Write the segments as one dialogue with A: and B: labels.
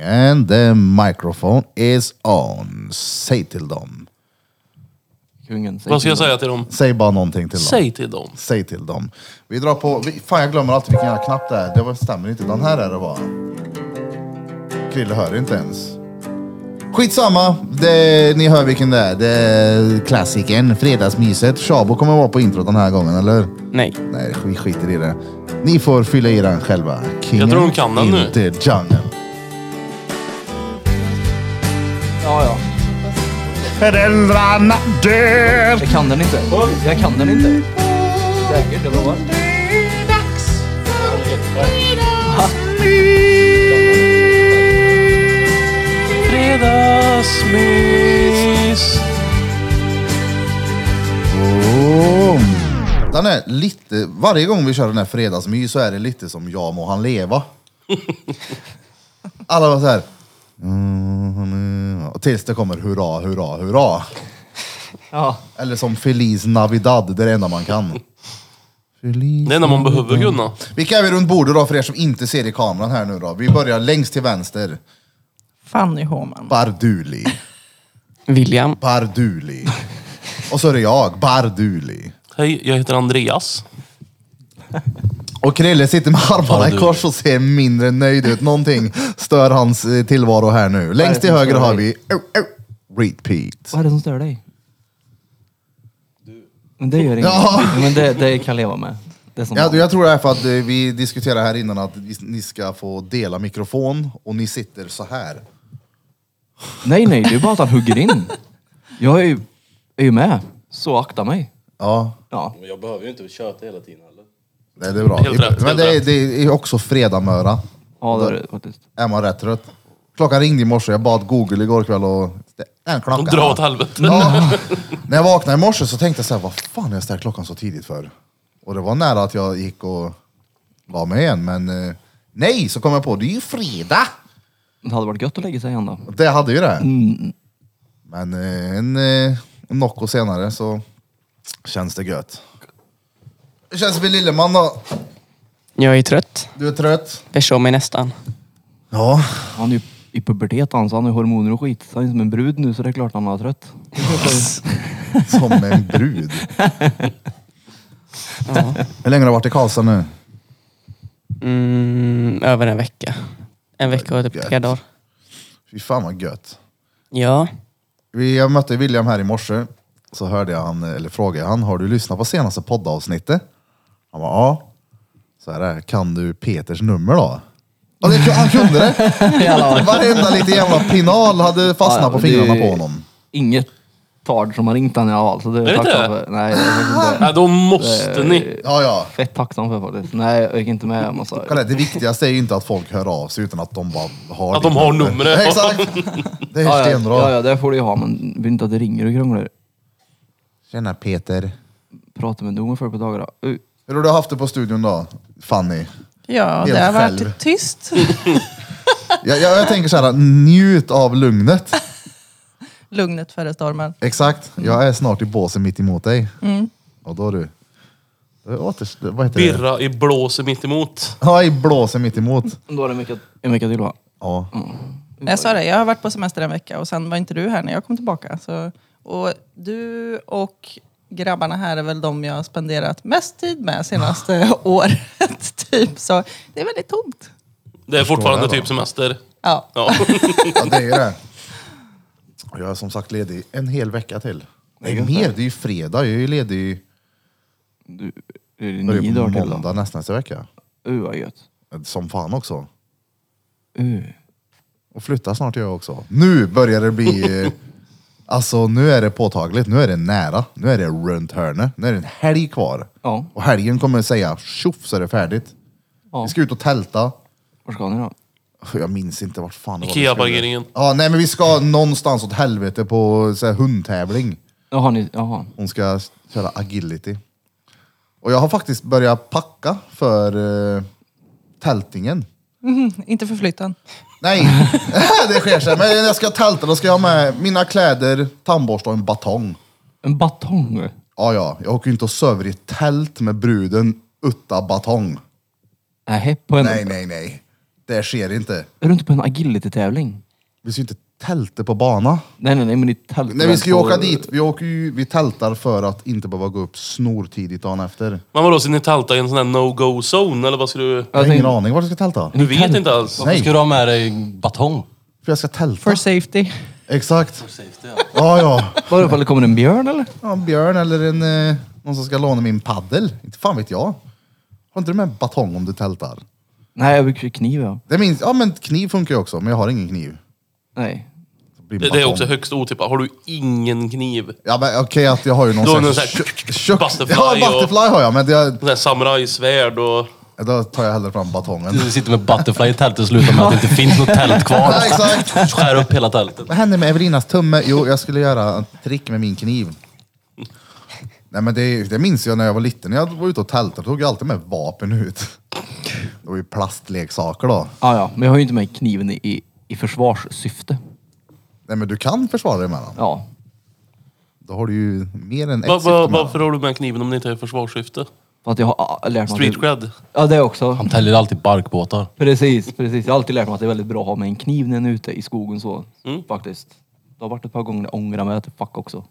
A: And the microphone is on. Säg till dem.
B: Kungen säger
C: Vad ska jag säga till dem?
A: Säg bara någonting till dem.
C: Säg till dem.
A: Säg till dem. Vi drar på... Vi, fan, jag glömmer alltid vilken jävla knapp det är. Det var, stämmer inte. Den här är det bara. Krille hör inte ens. Skitsamma. Det, ni hör vilken det är. Det är klassikern. Fredagsmyset. Shabo kommer vara på introt den här gången, eller?
B: Nej.
A: Nej, vi skiter i det. Ni får fylla i den själva. Kingen,
C: tror de kan den nu.
A: inte djungeln.
B: Ja, ja.
A: Föräldrarna dör!
B: Jag kan den inte. Jag kan den inte. Säkert, jag lovar.
C: Fredagsmys.
A: Boom. Den är lite, varje gång vi kör den här fredagsmys så är det lite som jag må han leva. Alla var så här. "Mm, Och tills det kommer hurra, hurra, hurra.
B: Ja.
A: Eller som Feliz Navidad, det är det enda man kan. Feliz
C: Det är när man behöver
D: Mm.
C: kunna.
A: Vilka är vi runt bordet då för er som inte ser i kameran här nu då? Vi börjar längst till vänster.
E: Fanny Håman.
A: Barduli.
F: William.
A: Barduli. Och så är det jag, Barduli.
C: Hej, jag heter Andreas.
A: Och Krille sitter med armarna i
C: du.
A: kors och ser mindre nöjd ut. Någonting stör hans eh, tillvaro här nu. Längst till
B: som
A: höger
B: stör
A: har vi
B: dig?
A: oh, oh, Repeat.
B: Vad är det som stör dig? Men det gör inget.
A: Ja.
B: Men det, det kan jag leva med. Det är som
A: Jag, jag tror det är för att eh, vi diskuterade här innan att vi- ni ska få dela mikrofon och ni sitter så här.
B: Nej, nej, det är ju bara att han hugger in. Jag är ju, är ju med. Så akta mig.
A: Ja,
B: Ja.
G: Men jag behöver ju inte köta hela tiden heller.
A: det det är bra.
C: Helt rätt,
A: Men
C: helt
A: det, är-
C: rätt.
A: det är också fredagmöra.
B: Ja, det är det faktiskt.
A: Är man rätt trött? Klockan ringde i morse, jag bad Google igår kväll och... Det är en klocka.
C: Dra åt helvete.
A: Ja. När jag vaknade i morse så tänkte jag så här, vad fan har jag ställt klockan så tidigt för? Och det var nära att jag gick och la mig igen, men eh, nej, så kom jag på, det är ju fredag!
B: Det hade varit gött att lägga sig igen då.
A: Det hade ju det.
B: Mm.
A: Men eh, en eh, Nocco senare så känns det gött. Hur känns det för Lilleman då?
F: Jag är trött.
A: Du är trött?
F: Förstår mig nästan.
A: Ja.
B: Han är ju i pubertet han, så han har ju hormoner och skit. Så han är som en brud nu, så det är klart han har trött.
A: Som en brud. Hur länge har du varit i Karlstad nu?
F: Mm, över en vecka. En vecka och typ tre
A: Gött.
F: dagar.
A: Fy fan vad gött.
F: Ja.
A: Vi, jag mötte William här i morse, så hörde jag han, eller frågade han, har du lyssnat på senaste poddavsnittet? Han bara, ja. Så här är det, kan du Peters nummer då? Och det, han kunde det! Varenda liten jävla pinal hade fastnat
B: Ja, ja,
A: på
B: det-
A: fingrarna på honom.
B: Inget tard som har ringt han i alla fall. Så det är,
C: Är det
B: jag tacksam
C: inte?
B: för. Nej, det är faktiskt inte.
C: Nej, då måste ni.
A: Ja, ja.
B: Fett tacksam för faktiskt. Nej, jag gick inte med om massa...
A: Kolla, det viktigaste är ju inte att folk hör av sig utan att de bara har
C: Att de
A: ditt
C: har numret.
A: Exakt! Det är
B: Ja, ja,
A: stenbra.
B: ja, ja, det får du ju ha, men vill inte att det ringer och krånglar.
A: Tjena Peter.
B: Prata med en unge folk på dagarna. Uh,
A: Hur har du haft det på studion då, Fanny?
E: Ja,
A: Helt
E: det har varit
A: själv.
E: tyst.
A: Jag, jag, jag tänker så här, njut av lugnet.
E: Lugnet före stormen.
A: Exakt. Jag är snart i båsen mitt emot dig.
B: Mm.
A: Och då du. då är Åter, vad heter det?
C: Birra i blåser mitt emot.
A: Ja, i blåsen mitt emot.
B: då är det en vecka- en vecka till va?
A: Ja.
B: Mm.
E: Jag sa det, jag har varit på semester en vecka och sen var inte du här när jag kom tillbaka. Så, och du och grabbarna här är väl de jag har spenderat mest tid med senaste året. Typ. Så det är väldigt tomt.
C: Det är fortfarande
A: det då.
C: typ semester.
E: Ja.
C: Ja.
A: ja, det är ju det. Och jag är som sagt ledig en hel vecka till. Nej, mer. Det är ju fredag. Jag är ju ledig
B: Du, är det nio
A: börjar
B: dagar
A: på
B: till då?
A: måndag nästa, nästa vecka.
B: Uh, vad gött.
A: Som fan också.
B: Uh.
A: Och flyttar snart jag också. Nu börjar det bli... eh, Alltså nu är det påtagligt. Nu är det nära. Nu är det runt hörnet. Nu är det en helg kvar.
B: Ja.
A: Och helgen kommer säga tjoff så är det färdigt.
B: Ja.
A: Vi ska ut och tälta.
B: Var ska ni då?
A: Jag minns inte vart fan det var vi skulle.
C: Ikea-parkeringen.
A: Ja, nej men vi ska någonstans åt helvete på så här, hundtävling.
B: Jaha, ni, jaha.
A: Hon ska köra agility. Och jag har faktiskt börjat packa för eh, tältningen.
E: Inte för flytten.
A: Nej, det sker sig. Men när jag ska tälta då ska jag ha med mina kläder, tandborste och en batong.
B: En batong?
A: Ja, ja. Jag åker ju inte och söver i ett tält med bruden utan batong.
B: Nej, på en...
A: Nej, nej, nej. Det sker inte.
B: Är du inte på en agility-tävling?
A: Vi ska ju inte tälta på bana.
B: Nej, nej, nej, men i tält.
A: Nej, vi ska ju
B: på-
A: åka dit. Vi, åker ju, vi tältar för att inte behöva gå upp snortidigt dagen efter.
C: Men vadå, ska ni tälta i en sån här no-go-zone eller vad ska du...
A: Jag har
B: tänkte-
A: ingen aning vart jag ska tälta.
C: Du vet inte alls.
D: Varför
A: Nej.
D: ska du ha med dig batong?
A: För jag ska tälta.
E: For safety.
A: Exakt. Ja, ja.
B: Vadå, ifall det kommer en björn eller?
A: ja en björn eller en, eh, någon som ska låna min paddel. Inte fan vet jag. Har inte du med en batong om du tältar?
B: Nej, jag brukar kniv ja.
A: Det minns, ja men kniv funkar ju också, men jag har ingen kniv.
B: Nej.
A: Det, blir
C: Det, det är
A: batong.
C: också högst otippat. Har du ingen kniv?
A: Ja men okej att jag har ju någon
C: Du har någon
A: sån här
C: sån här
A: tjock- tjock-
C: butterfly
A: Ja,
C: och-
A: butterfly har jag, men det,
C: Sån här samurajsvärd och...
A: då tar jag hellre fram batongen.
D: Du sitter med butterfly i tältet och slutar med att det inte finns något tält kvar.
A: Ja, exakt.
D: Skär upp hela tältet.
A: Vad hände med Evelinas tumme? Jo, jag skulle göra ett trick med min kniv. Nej men det, det minns jag när jag var liten. När jag var ute och tältade tog jag alltid med vapen ut. Det var ju plastleksaker då.
B: Ja, ja, men jag har ju inte med kniven i- i, i försvarssyfte.
A: Nej men du kan försvara dig med den.
B: Ja.
A: Då har du ju mer än ett
C: Va, va,
A: syfte med
C: varför har du med kniven om det inte är försvarssyfte?
B: För att jag har ah, lärt mig... att
C: Street
B: det-
C: cred.
B: Ja, det också.
D: Han täljer alltid barkbåtar.
B: Precis, precis. Jag har alltid lärt mig att det är väldigt bra att ha med en kniv när en är ute i skogen så.
C: Mm.
B: Faktiskt. Det har varit ett par gånger jag ångrar mig att fuck också.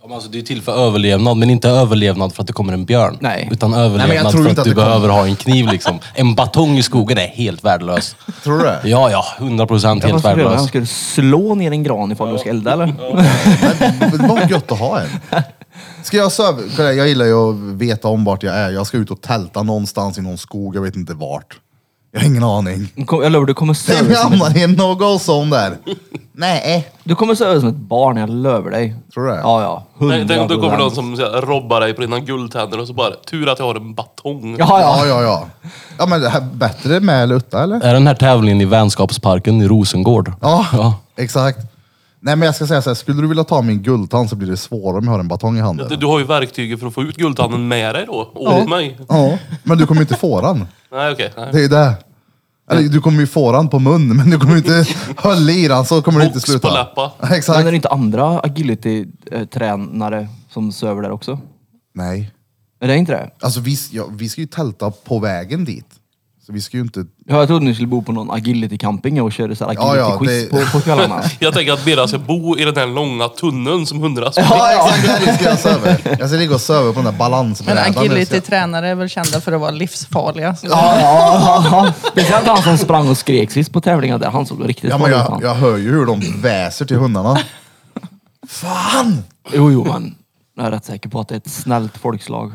D: Ja, men alltså, det är till för överlevnad, men inte överlevnad för att det kommer en björn.
B: Nej.
D: Utan
A: Nej, men jag
D: överlevnad
A: tror
D: för att,
A: inte att
D: du
A: det kommer.
D: behöver ha en kniv liksom. En batong i skogen är helt värdelös.
A: Tror du det?
D: Ja, ja. 100 procent
B: Jag
D: helt
B: skulle göra det. Han
D: värdelös.
B: skulle slå ner en gran ifall du ska elda eller?
A: Men Det var gött att ha en. Ska jag söva? kolla, Jag gillar ju att veta om vart jag är. Jag ska ut och tälta någonstans i någon skog, jag vet inte vart. Jag har ingen aning.
B: Kom- Jag lovar, du kommer
A: Tänk om
B: söva
A: jag
B: som, ett-
A: hamnar i en no-go-zone där. Nej.
B: du kommer söva som ett barn, jag löver dig.
A: Tror du det?
B: Ja, ja.
C: Tänk tänk om det kommer
B: 100%.
C: någon som så här, robbar dig på dina guldtänder och så bara, tur att jag har en batong.
B: Jaha,
A: Ja,
B: ja.
A: ja, ja. Ja, men det här, bättre med Lutta eller?
D: Är den här tävlingen i vänskapsparken i Rosengård?
A: Ja,
D: Ja.
A: exakt. Nej, men jag ska säga så här, skulle du vilja ta min guldtand så blir det svårare om jag har en batong i handen.
C: Du, du har ju verktygen för att få ut guldtanden med dig då. Åt mig.
A: Ja, men du kommer inte få den.
C: Nej okej. nej.
A: Det är ju det. Eller du kommer ju få den på mun, men du kommer ju inte hålla i den så kommer det inte
C: Box
A: sluta.
C: på läppa.
A: Exakt.
B: Men är det inte andra agility-tränare som söver där också?
A: Nej.
B: Är det inte det?
A: Alltså vi, ja, vi ska ju tälta på vägen dit. Så vi ska ju inte...
B: Ja, jag trodde ni skulle bo på någon agility-camping och köra så här
A: Ja, ja,
B: agility-quiz
A: det-
B: på, på kvällarna.
C: Jag tänker att Birra ska bo i den här långa tunneln som hundra spänn.
A: Ja, exakt där ska jag söva. Jag ska ligga och söva på den där
E: Men
A: balansbrädan.
E: agility-tränare är väl kända för att vara livsfarliga. Så
B: Ja, ja, ja. Speciellt han som sprang och skrek sist på tävlingen där. Han såg riktigt
A: Ja, men
B: farlig ut.
A: jag,
B: han.
A: jag hör ju hur de väser till hundarna. Fan!
B: Jo, jo, men jag är rätt säker på att det är ett snällt folkslag.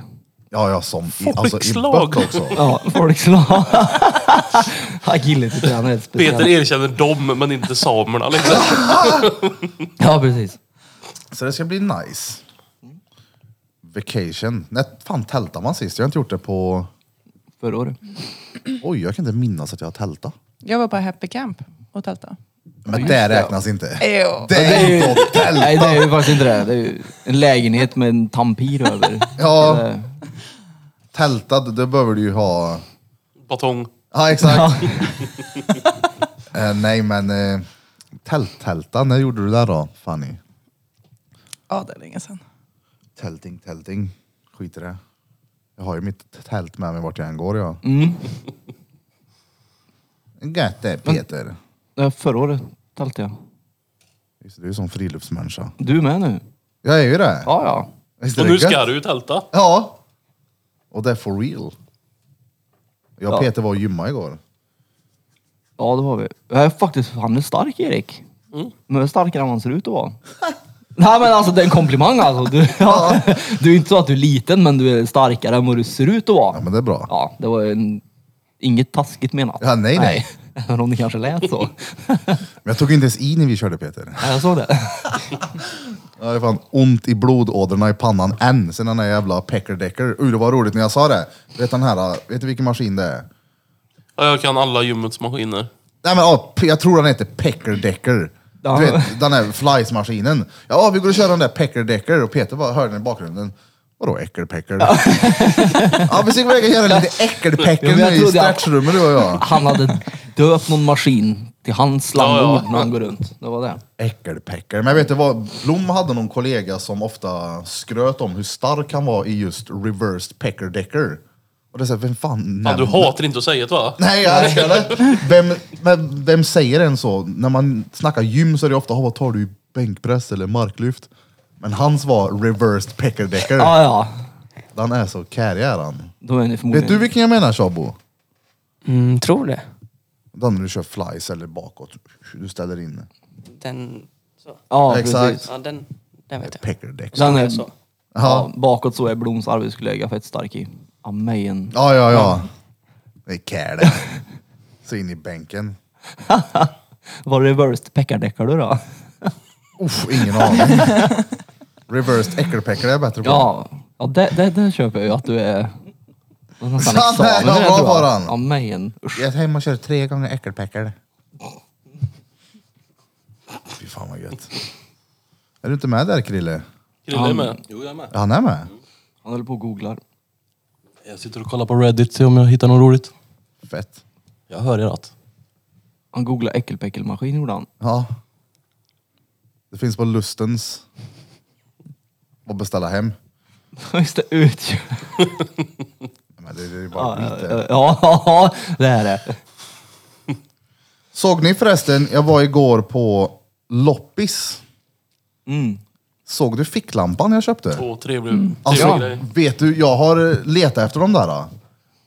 A: Ja, ja, som i, alltså, i
C: Folkslag.
A: böck också.
B: Ja, folkslag. Agility-tränare är ett
C: Peter
B: speciellt.
C: erkänner dem men inte samerna liksom.
B: Ja, precis.
A: Så det ska bli nice. Vacation. När fan tältade man sist? Jag har inte gjort det på...
B: Förra året.
A: Oj, jag kan inte minnas att jag har tältat.
E: jag var på Happy Camp och tältade.
A: Men det räknas inte.
E: Ew.
A: Det är inte att tälta.
B: Nej, det är ju faktiskt inte det. Det är ju en lägenhet med en tampir över.
A: Ja.
B: Så det-
A: Tältad, då behöver du ju ha...
C: Batong.
A: Ja, exakt. Eh, nej, men eh, tält-tälta, när gjorde du det då, Fanny?
E: Ja, det är länge sedan.
A: Tälting, tälting. Skit i det. Jag har ju mitt tält med mig vart jag än går. Ja. Gött det, Peter.
B: Ja, Förra året tältade jag.
A: Just det, du är som friluftsmänniska.
B: Du är med nu?
A: Jag är ju det.
B: Ja, ja.
A: Visst är
C: Och
A: det
C: nu ska
A: gött?
C: du ju tälta.
A: Ja. Och det är for real. Jag och
B: Ja.
A: Peter var och gymma igår.
B: Ja, det var vi. Jag är faktiskt, han är stark Erik. Men starkare än han ser ut att vara. Nej men alltså det är en komplimang alltså. Du, ja, du är inte så att du är liten men du är starkare än vad du ser ut att vara.
A: Ja, men det är bra.
B: Ja, det var en, inget taskigt menat.
A: Ja, nej, nej.
B: Även om det kanske lät så.
A: Men jag tog inte ens i när vi körde, Peter.
B: Ja, jag såg det.
A: Jag har fan ont i blodådrorna i pannan än sen den där jävla peckerdecker. Oj, det var roligt när jag sa det. Vet den här, vet du vilken maskin det är?
C: Ja, jag kan alla gymmets maskiner.
A: Nej men ja, p- jag tror den heter Peckerdecker.
B: Ja.
A: Du vet den här flies-maskinen. Ja vi går och kör den där Peckerdecker och Peter bara hörde den i bakgrunden. Vadå äckelpecker? Ja. vi ska försöka göra lite
B: Ja,
A: äckelpecker
B: men jag
A: nu i
B: trodde jag-
A: stretchrummet du och jag.
B: Han hade döpt någon maskin till hans slangord
C: Ja, ja.
B: när han går runt. Det var det.
A: Äckelpecker. Men vet du vad? Blom hade någon kollega som ofta skröt om hur stark han var i just reversed Peckerdecker. Och det är såhär, vem fan
C: Fan, du
A: nämner-
C: hatar inte att säga det va?
A: Nej, jag eller? Vem, men vem säger en så? När man snackar gym så är det ofta, "Ah, vad tar du i bänkpress eller marklyft? Men hans var reversed peckerdecker.
B: Ja, ja.
A: Han är så carry är han.
B: Då är ni
A: Vet du
B: förmodligen...
A: vilken jag menar Shabo?
F: Mm, tror det.
A: Den när du kör flies eller bakåt. Du ställer in
F: Den... Så.
B: Ja,
A: Exakt.
B: precis.
F: Ja, den, den vet jag.
A: peckerdeck.
B: Den är,
F: Så.
B: ja, bakåt så är Bloms arbetskollega fett stark i. Amen.
A: Ja, ja, ja. Det är carry. Så in i bänken.
B: Var det reversed peckardeckar du då?
A: Uff, ingen aning. Reversed äckelpäckare är jag bättre på.
B: Ja, ja det, det, det köper jag ju att du är... Du har nästan
A: Sanna,
B: examen
A: jag
B: i det,
A: var
B: tror jag.
A: bara han.
B: Amen. Usch.
A: Jag är hemma och kör tre gånger äckelpäckare. Fy fan vad gött. Är du inte med där Krille?
C: Krille är med.
D: Jo, jag är med.
A: Ja, Han är med?
B: Han håller på och googlar.
D: Jag sitter och kollar på Reddit, se om jag hittar något roligt.
A: Fett.
D: Jag hör er att.
B: Han googlar äckelpäckelmaskin gjorde han.
A: Ja. Det finns på Lustens. Och beställa hem.
B: Just det, ut.
A: Men det, det är bara
B: Ja,
A: skit det.
B: ja, ja, det är det.
A: Såg ni förresten, jag var igår på loppis.
B: Mm.
A: Såg du ficklampan jag köpte?
C: Åh, trevlig, trevlig
A: Alltså,
C: grej.
A: vet du, jag har eh, letat efter de där. då.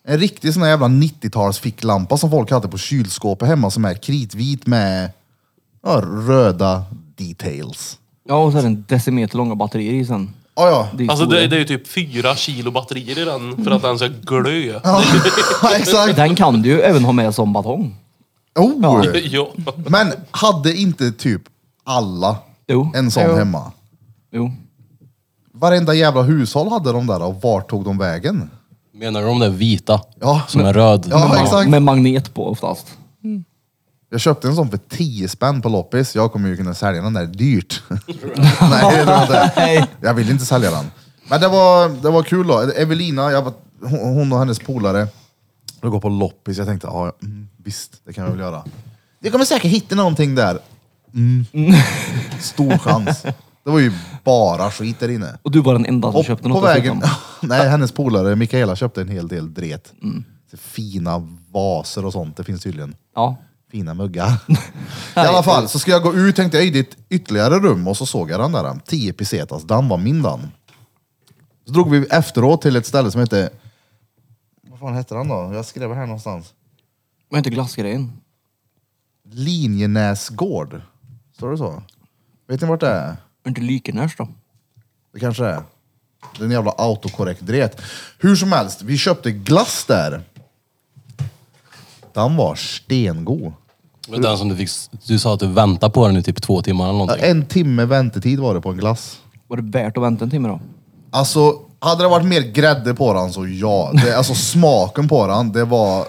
A: En riktig sån här jävla 90-tals ficklampa som folk hade på kylskåpet hemma som är kritvit med ja, röda details.
B: Ja, och så är det en decimeter långa batterier i sen.
A: Ah, ja,
B: Det är
C: Alltså
B: stora.
C: det, det är ju typ fyra kilo batterier i den för att den ska glö.
A: ja, exakt.
B: Den kan du ju även ha med som batong.
A: Oh.
C: Ja.
A: Men hade inte typ alla
B: Jo.
A: en sån
B: jo.
A: hemma?
B: Jo.
A: Varenda jävla hushåll hade de där och vart tog de vägen?
D: Menar du de där vita?
A: Ja.
D: Som är röd?
A: Ja, exakt.
B: Med magnet på oftast.
A: Jag köpte en sån för 10 spänn på loppis. Jag kommer ju kunna sälja den där dyrt. Nej, det tror jag inte.
B: Nej.
A: Jag vill inte sälja den. Men det var, det var kul då. Evelina, jag, var- hon hon och hennes polare, de går på loppis. Jag tänkte, ja, mm, visst, det kan jag väl göra. Vi kommer säkert hitta någonting där. Mm. Stor chans. Det var ju bara skit där inne.
B: Och du var den liksom. enda som
A: Och
B: köpte
A: på
B: något.
A: vägen,
B: dessutom.
A: nej, hennes polare Mikaela köpte en hel del dret.
B: Mm.
A: Fina vaser och sånt, det finns tydligen.
B: Ja.
A: Fina muggar. I alla fall, så ska jag gå ut tänkte jag, "Ej, det är ett ytterligare rum och så såg jag den där 10 pesetas, den var min den. Så drog vi efteråt till ett ställe som hette, vad fan hette den då? Jag skrev här någonstans.
B: Men inte glassgrejen.
A: Linjenäsgård. Står det så? Vet ni vart det är?
B: Inte Lykenäs då?
A: Det kanske är. Det är en jävla autokorrekt dret. Hur som helst, vi köpte glass där. Den var stengod.
D: Men Den som du, fick, du sa att du väntar på den i typ två timmar eller någonting.
A: En timme väntetid var det på en glass.
B: Var det värt att vänta en timme då?
A: Alltså, hade det varit mer grädde på den så ja. Det, alltså smaken på den, det var...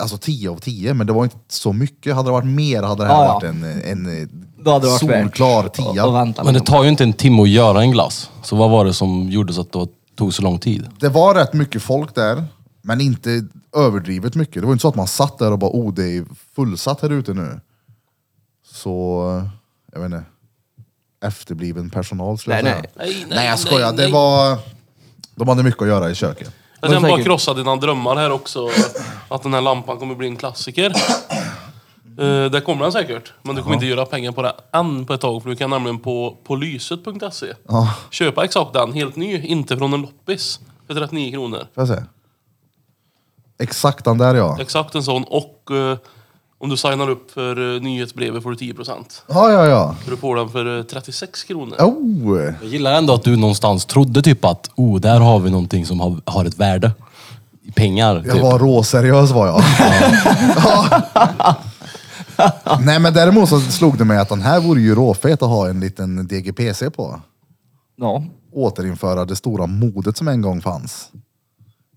A: Alltså 10 av 10, men det var inte så mycket. Hade det varit mer hade det här
B: Ja, ja.
A: varit en, en
B: Då hade det varit värt
A: solklar
B: att-
A: 10.
B: att vänta.
D: Men det tar ju inte en timme att göra en glass. Så vad var det som gjorde så att det tog så lång tid?
A: Det var rätt mycket folk där, men inte överdrivet mycket. Det var inte så att man satt där och bara, oh det är fullsatt här ute nu. Så, jag vet inte. Efterbliven personal skulle jag
B: Nej,
A: säga.
B: nej.
C: Nej, nej,
A: nej jag skojar.
C: nej, nej.
A: Det var... De hade mycket att göra i köket.
C: Jag kan bara
B: säkert-
C: krossa dina drömmar här också. Att den här lampan kommer bli en klassiker. Eh, det kommer den säkert. Men du kommer inte göra pengar på det än på ett tag. För du kan nämligen på, på lyset.se
A: Ja,
C: köpa exakt den, helt ny. Inte från en loppis. För 39 kronor.
A: får jag se? Exakt den där ja.
C: Exakt en sån. Och eh, om du signar upp för uh, nyhetsbrevet får du 10%.
A: Ja, ja, ja.
C: För du får den för eh, 36 kronor.
A: Oh!
D: Jag gillar ändå att du någonstans trodde typ att oh, där har vi någonting som har, har ett värde. I pengar. Typ.
A: Jag var råseriös var jag. ja. Nej men däremot så slog det mig att den här vore ju råfet att ha en liten DGPC på.
B: liksom. Ja.
A: återinföra det stora modet som en gång fanns.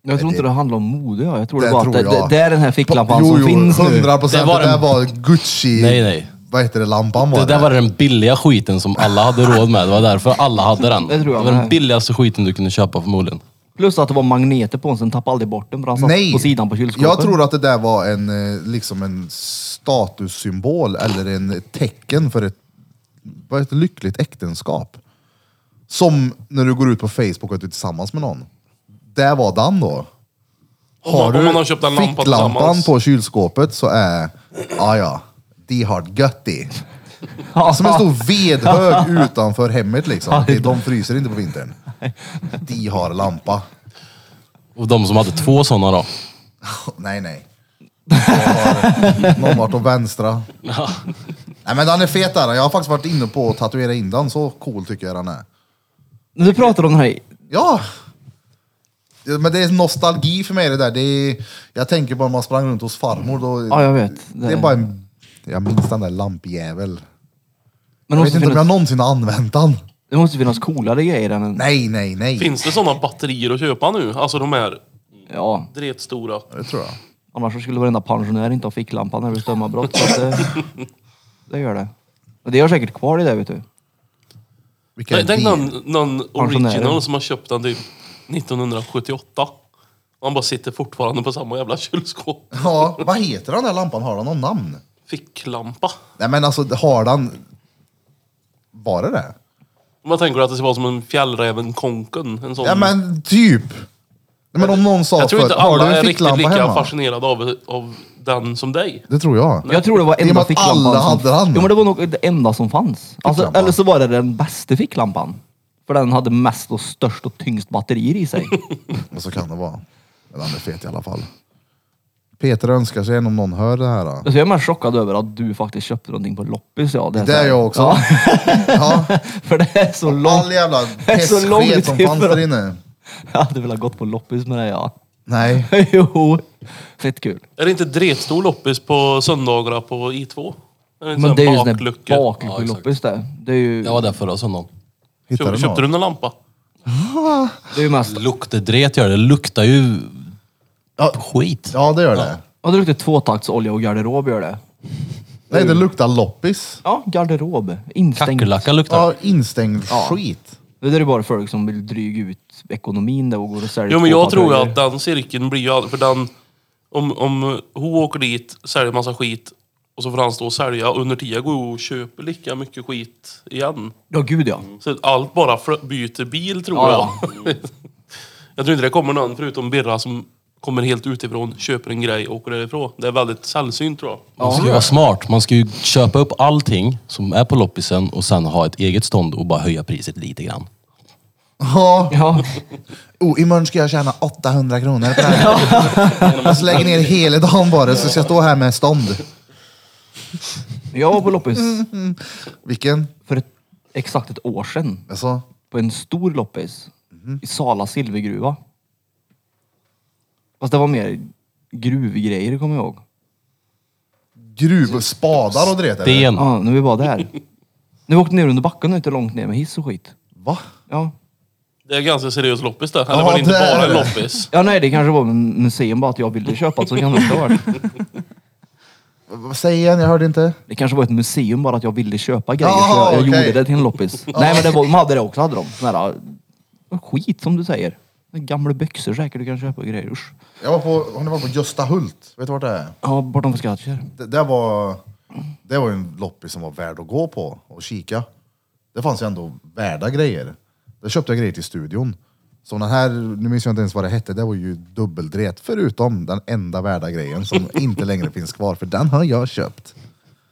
B: Jag tror inte det handlar om mode. ja. Jag tror det
A: Det
B: bara att
A: tror
B: det, det,
A: jag.
B: det är den här ficklampan
A: Jo,
B: som
A: jo,
B: finns nu.
A: 100 procent.
D: Det
A: Det,
D: var
A: där
D: en-
A: var Gucci...
D: Nej, nej.
A: Vad heter det? Lampan var
D: Det
A: det.
D: där var den billiga skiten som alla hade råd med. Det var därför alla hade den.
B: Det tror jag
D: var
B: med.
D: den billigaste skiten du kunde köpa förmodligen.
B: Plus att det var magneter på den, så den tappade aldrig bort den för han satt
A: Nej.
B: på sidan på kylskåpet.
A: Jag tror att det där var en, eh, liksom en statussymbol eller en tecken för ett, vad heter, det? lyckligt äktenskap. Som när du går ut på Facebook och att du är tillsammans med någon. det var den då. Har
C: man-
A: du
C: om man har köpt en lampa
A: ficklampan
C: tillsammans.
A: på kylskåpet så är, ja ja, de har det gött i. Som en stor vedhög utanför hemmet liksom. De- De fryser inte på vintern. De har lampa.
D: Och de som hade två sådana då?
A: Nej, nej. Jag har- Någon vart åt vänstra. Nej men den är fet där. Jag har faktiskt varit inne på att tatuera in den. Så cool tycker jag den är.
B: Du pratar om den här.
A: Ja! Ja, Men det är nostalgi för mig det där. Det är, jag tänker bara när man sprang runt hos farmor. Då,
B: Ja, jag vet.
A: det... är bara en... Jag minns den där lampjävel. Jag
B: Men
A: vet
B: det
A: inte
B: måste,
A: om
B: finnas,
A: jag någonsin har använt den.
B: det måste finnas coolare grejer än en...
A: Nej, nej, nej.
C: Finns det sådana batterier att köpa nu? Alltså de här
B: Ja,
C: dretstora.
A: Det tror jag.
B: annars så skulle varenda pensionär inte ha ficklampa när det blir strömavbrott. Så att det, det gör det. Och det har säkert kvar det där vet du.
A: Vilka är
C: Tänk tänk
A: det?
C: någon, någon
B: Pensionärer.
C: original som har köpt den typ 1978. Han bara sitter fortfarande på samma jävla kylskåp.
A: Ja, vad heter den där lampan? Har den någon namn?
C: Ficklampa.
A: Nej men alltså, har den... Var det det?
C: Man tänker att det ska vara som en fjällräven konken. En sån.
A: Ja men typ. Nej, Men om någon sa
C: jag tror inte
A: förut, har
C: alla
A: du
C: är
A: en
C: riktigt
A: ficklampa
C: lika
A: hemma?
C: fascinerade av, av den som dig.
A: Det tror jag.
B: Jag tror det var
A: Det är
B: enda
A: bara att
B: ficklampan
A: alla
B: som...
A: hade den.
B: Jo men det var nog det enda som fanns. Alltså,
A: Ficklampan.
B: eller så var det den bästa ficklampan. För den hade mest och störst och tyngst batterier i sig. Alltså,
A: Och så kan det vara. Men han är fet i alla fall. Peter önskar sig en om någon hör det här. Då.
B: Så jag är mest chockad över att du faktiskt köpte någonting på loppis. Ja, är
A: Det
B: så här-
A: är jag också.
B: Ja,
A: Ja.
B: för det är så
A: All
B: långt.
A: jävla
B: Det är så
A: pestsket
B: långt
A: som fanns
B: ifrån.
A: där inne.
B: Jag hade velat gått på loppis med det ja.
A: Nej.
B: jo, fett kul.
C: Är det inte dretstor loppis på söndagar på I2? Är det inte
B: Men
C: sån
B: det är ju sån där
C: baklucka?
D: Ja, exakt.
B: bakluckeloppis det. Det är ju,
D: Jag var där förra söndagen.
A: Hittade
C: Köp,
A: du
C: köpte
A: något?
C: du någon lampa?
B: det är ju mest...
D: Luktedret gör det. Det luktar ju
A: Ja.
D: skit.
A: Ja det gör det.
B: Ja, det luktar tvåtaktsolja och garderob gör det.
A: Nej det luktar loppis.
B: Ja, garderob. Instängt.
D: Kackerlacka luktar
A: Ja, instängd skit.
B: Det där är bara folk som vill dryga ut ekonomin där och går och säljer
C: Jo men jag tror ju
B: tvåtaktshöjer.
C: att den cirkeln blir ju all- för den... Om, om hon åker dit, säljer massa skit och så får han stå och sälja och under tiden går hon och köper lika mycket skit igen.
B: Ja, gud ja.
C: Så att allt bara flö- byter bil tror
B: Ja,
C: jag. jag tror inte det kommer någon förutom Birra som kommer helt utifrån, köper en grej och åker därifrån. Det är väldigt sällsynt tror jag.
D: Man ska ju vara smart. Man ska ju köpa upp allting som är på loppisen och sen ha ett eget stånd och bara höja priset lite grann.
A: Ja.
B: Ja,
A: Oh, imorgon ska jag tjäna 800 kronor på det här. Jag så lägger ner hela dagen bara så ska jag stå här med stånd.
B: jag var på loppis
A: Vilken?
B: för ett, exakt ett år sedan
A: Alltså,
B: på en stor loppis i Sala silvergruva. Fast det var mer gruvgrejer kommer jag ihåg.
A: gruv, spadar och dret
D: Det är
A: eller?
D: en...
B: Ja, nu är vi bara där. Nu åkte ner under backen och inte långt ner med hiss och skit.
A: Va?
B: Ja,
C: Det är ganska seriös loppis det. Eller
A: Ja,
C: var det inte
A: det är
C: bara en
A: det.
C: loppis?
B: ja nej det kanske var en museum bara att jag ville köpa så kan det inte ha varit.
A: Vad- Säg igen, jag hörde inte.
B: Det kanske var ett museum bara att jag ville köpa grejer så
A: Jaha,
B: jag, jag
A: okej.
B: gjorde det till en loppis. Nej men det var, de hade det också, hade de. Sån här, äh, skit som du säger. Gamla byxor säkert du kan köpa och grejer. Usch.
A: Jag var på, hon var på Gösta Hult. Vet du vart det är?
B: Ja, bortom Skattkärr.
A: Det, det var det var ju en loppis som var värd att gå på och kika. Det fanns ju ändå värda grejer. Där köpte jag grejer till studion. Som den här, nu minns jag inte ens vad det hette, det var ju dubbeldret. Förutom den enda värda grejen som inte längre finns kvar, för den har jag köpt.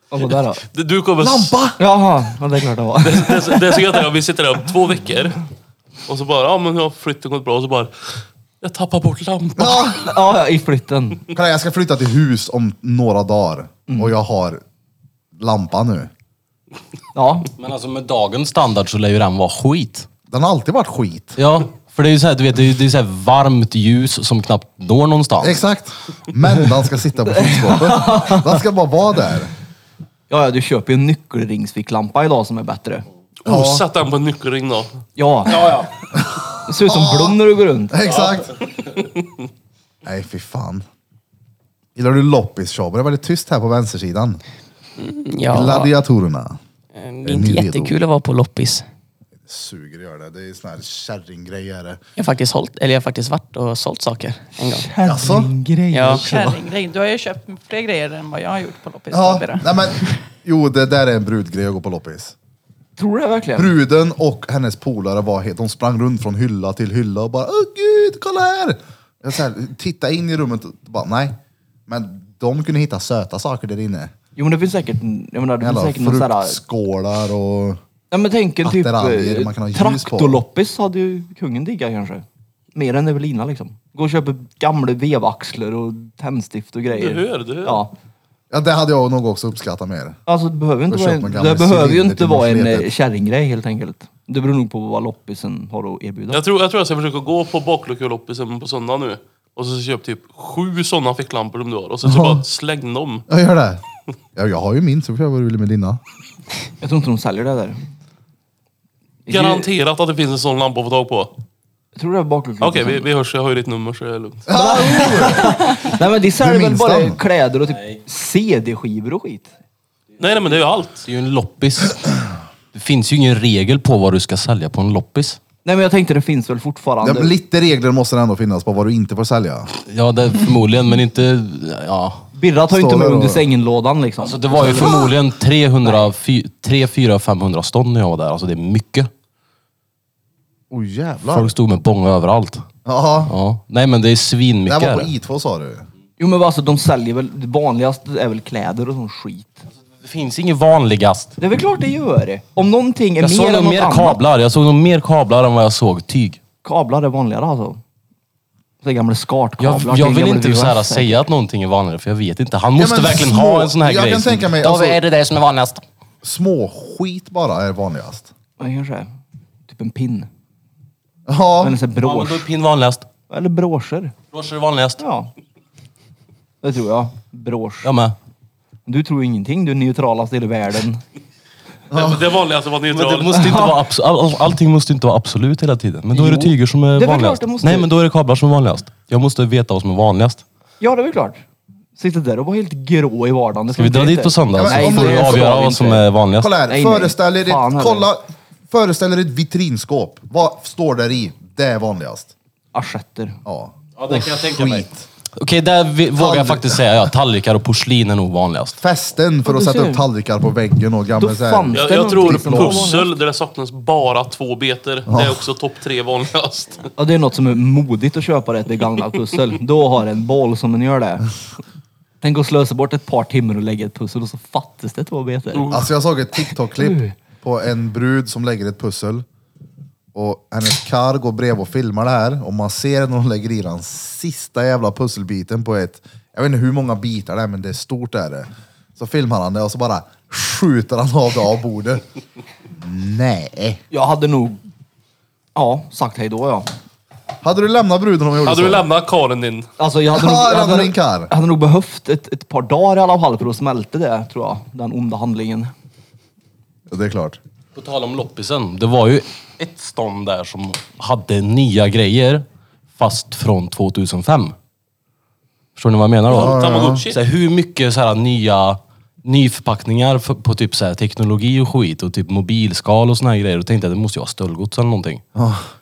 B: Vad var det där då?
C: Det- Du kommer...
A: Lampa!
B: Jaha, ja, det är klart det var.
C: Det, det, det är så gött att vi sitter där om två veckor och så bara, ja men nu har flytten gått bra och så bara, jag tappar bort lampan.
A: Ja.
B: Ja, ja, i flytten.
A: Kolla, jag ska flytta till hus om några dagar och jag har lampa nu.
B: Ja,
D: Men alltså med dagens standard så lär ju den vara skit.
A: Den har alltid varit skit.
D: Ja, för det är ju såhär, du vet, det är ju- det är så här varmt ljus som knappt når någonstans.
A: Exakt. Men den ska sitta på kylskåpet. Den ska bara vara där.
B: ja, ja du köper ju en nyckelringsficklampa idag som är bättre.
C: Oh, Sätt den på en nyckelring då.
B: Ja. ja, Det ser ut som Blom när du går runt.
A: Exakt. Nej, fy fan. Gillar du loppis Tjabo? Det är väldigt tyst här på vänstersidan.
F: Ja, Mm,
A: Gladiatorerna.
F: det
A: är
F: är
A: ni
F: inte
A: redo?
F: jättekul att vara på loppis.
A: Suger gör det. Det är sån här kärringgrej är det.
F: Jag har faktiskt, hållit, eller jag har faktiskt varit och sålt saker en gång.
A: Jaså?
B: Kärringgrejer.
F: Ja.
E: Kärringgrej. Du har ju köpt fler grejer än vad jag har gjort på loppis.
A: Ja,
E: Barbara.
A: nej men. Jo, det där är en brudgrej att gå på loppis.
B: Tror du det verkligen?
A: Bruden och hennes polare var helt, de sprang runt från hylla till hylla och bara Åh gud, kolla här! Jag så här, titta in i rummet och bara nej. Men de kunde hitta söta saker där inne.
B: Jo men det finns säkert, jag menar, det finns
A: Jävla
B: säkert någon sån här...
A: fruktskålar och...
B: Ja men tänk en typ
A: attiraljer
B: eh,
A: man kan ha ljus på.
B: traktorloppis hade ju kungen diggat kanske. Mer än Evelina liksom. Gå och köpa gamla vevaxlar och tändstift och grejer.
C: Du hör, du hör.
B: Ja.
A: Ja, det hade jag nog också uppskattat mer.
B: Alltså det behöver, inte
A: Och
B: vara
A: köpa
B: en,
A: gamla
B: det behöver ju
A: cylinder
B: inte
A: till
B: vara en
A: marsletet.
B: eh, kärringgrej helt enkelt. Det beror nog på vad loppisen har att erbjuda.
C: Jag tror, jag tror jag ska försöka gå på bakluckeloppisen på söndag nu. Och så köp typ sju sådana ficklampor som du har. Och sen så bara släng dem.
A: Jag gör det. Ja, jag har ju min, så får jag vad du vill med dina.
B: Jag tror inte de säljer det där.
C: Garanterat att det finns en sån lampa att få tag på.
B: Jag tror det är bakluckan.
C: Okej, vi, vi hörs. Jag har ju ditt nummer så det är lugnt.
B: Nej men de säljer
A: Du
B: väl
A: minns
B: bara
A: dem?
B: kläder och typ CD-skivor och skit.
C: Nej, nej men det är ju allt.
D: Det är ju en loppis. Det finns ju ingen regel på vad du ska sälja på en loppis.
B: Nej men jag tänkte det finns väl
A: Ja,
B: fortfarande.
A: men lite regler måste det ändå finnas på vad du inte får sälja.
D: Ja, det förmodligen, men inte... Ja.
B: Birra tar ju inte
A: Står
B: med
A: det då?
B: under sängen-lådan liksom.
D: Alltså det var ju förmodligen 300, 3, 4, 500 stånd när jag var där. Alltså det är mycket.
A: Oj oh, jävlar.
D: Folk stod med bånga överallt.
A: Ja,
D: Ja. Nej men det är
A: det här
D: svinmycket.
A: var på
D: är det.
A: I2 sa du.
B: Jo men alltså de säljer väl, det vanligaste är väl kläder och sån skit.
D: Det finns inget vanligast.
B: Det är väl klart det gör. Om någonting är
D: Jag
B: mer
D: såg
B: än
D: nog
B: något
D: mer
B: annat.
D: kablar. Jag såg nog mer kablar än vad jag såg tyg.
B: Kablar är vanligare alltså. Så gamla skartkablar.
D: Jag,
B: till
D: jag vill
B: gamla
D: inte så här,
B: VHS.
D: säga att någonting är vanligare för jag vet inte. Han måste
A: Ja, men
D: verkligen
A: små-
D: ha en sån här
A: jag
D: grej.
A: kan
D: som-
A: tänka mig,
F: Då
A: alltså,
F: är det det som är vanligast.
A: små skit bara är vanligast.
B: Ja, kanske är. Typ en pin.
A: Ja,
B: Eller så här
D: Ja, men då är
B: brosch.
D: pin vanligast.
B: Eller broscher.
D: Broscher är vanligast.
B: Ja. Det tror jag. Brosch.
D: Jag med.
B: Du tror ju ingenting. Du är neutralast i hela världen.
C: Det, det vanligaste var
D: Men det
C: neutral.
D: måste inte vara abs- all, all, allting måste inte vara absolut hela tiden. Men då är det
B: Jo.
D: tyger som är,
B: Det är väl
D: vanligast.
B: klart det måste-
D: Nej, men då är det kablar som är vanligast. Jag måste veta vad som är vanligast.
B: Ja, det är väl klart. Sitta där och vara helt grå i vardagen. det
D: Ska vi dra
B: inte-
D: dit på söndag
A: Ja, men
D: så
A: om
D: får
A: det
D: vi
A: är så
D: avgöra
B: vi
D: vad
B: inte-
D: som är vanligast?
A: kolla här.
B: Nej, nej.
A: Föreställ er
B: Fan,
A: ett,
B: herre.
A: kolla, föreställ er ett vitrinskåp. Vad står där i? Det är vanligast.
B: Assietter.
A: Ja.
G: Ja, det kan jag tänka mig.
A: Skit.
D: Okej, där vi, vågar jag faktiskt säga ja. Tallrikar och porslin är nog vanligast.
A: Fästen för
B: Ja,
A: att
B: du
A: sätta
B: ser.
A: upp tallrikar på väggen och gamla
B: Då
A: så här-
B: fanns
C: Jag,
B: det
C: jag tror
B: någonting som var
C: pussel där det saknas bara två beter. Det är också topp tre vanligast.
B: Ja, det är något som är modigt att köpa rätt begagnat pussel. Då har en boll som den gör det. Tänk att slösa bort ett par timmar och lägga ett pussel och så fattas det två beter.
A: Alltså jag såg ett TikTok-klipp på en brud som lägger ett pussel. Och hennes karl går bredvid och filmar det här. Och man ser när hon lägger i den sista jävla pusselbiten på ett... Jag vet inte hur många bitar det är, men det är stort är det. Så filmar han det och så bara skjuter han av det av bordet. Nej.
B: Jag hade nog, ja, sagt hej då ja.
A: Hade du lämnat bruden om jag gjorde
C: Hade du
A: så?
C: lämnat Karin din?
B: Alltså jag hade,
A: Ja,
B: nog,
A: det
B: jag
A: hade
B: hade,
A: din karl.
B: jag hade nog behövt ett, ett par dagar i alla fall för att smälta det, tror jag. Den onda handlingen.
A: Ja, Det är klart.
D: På tal om loppisen, det var ju ett stånd där som hade nya grejer, fast från 2005. Förstår ni vad jag menar då?
C: Tamagotchi?
D: Så här, hur mycket så här, nya nyförpackningar för, på typ så här, teknologi och skit och typ mobilskal och såna här grejer. Då tänkte jag det måste ju vara stöldgods eller någonting.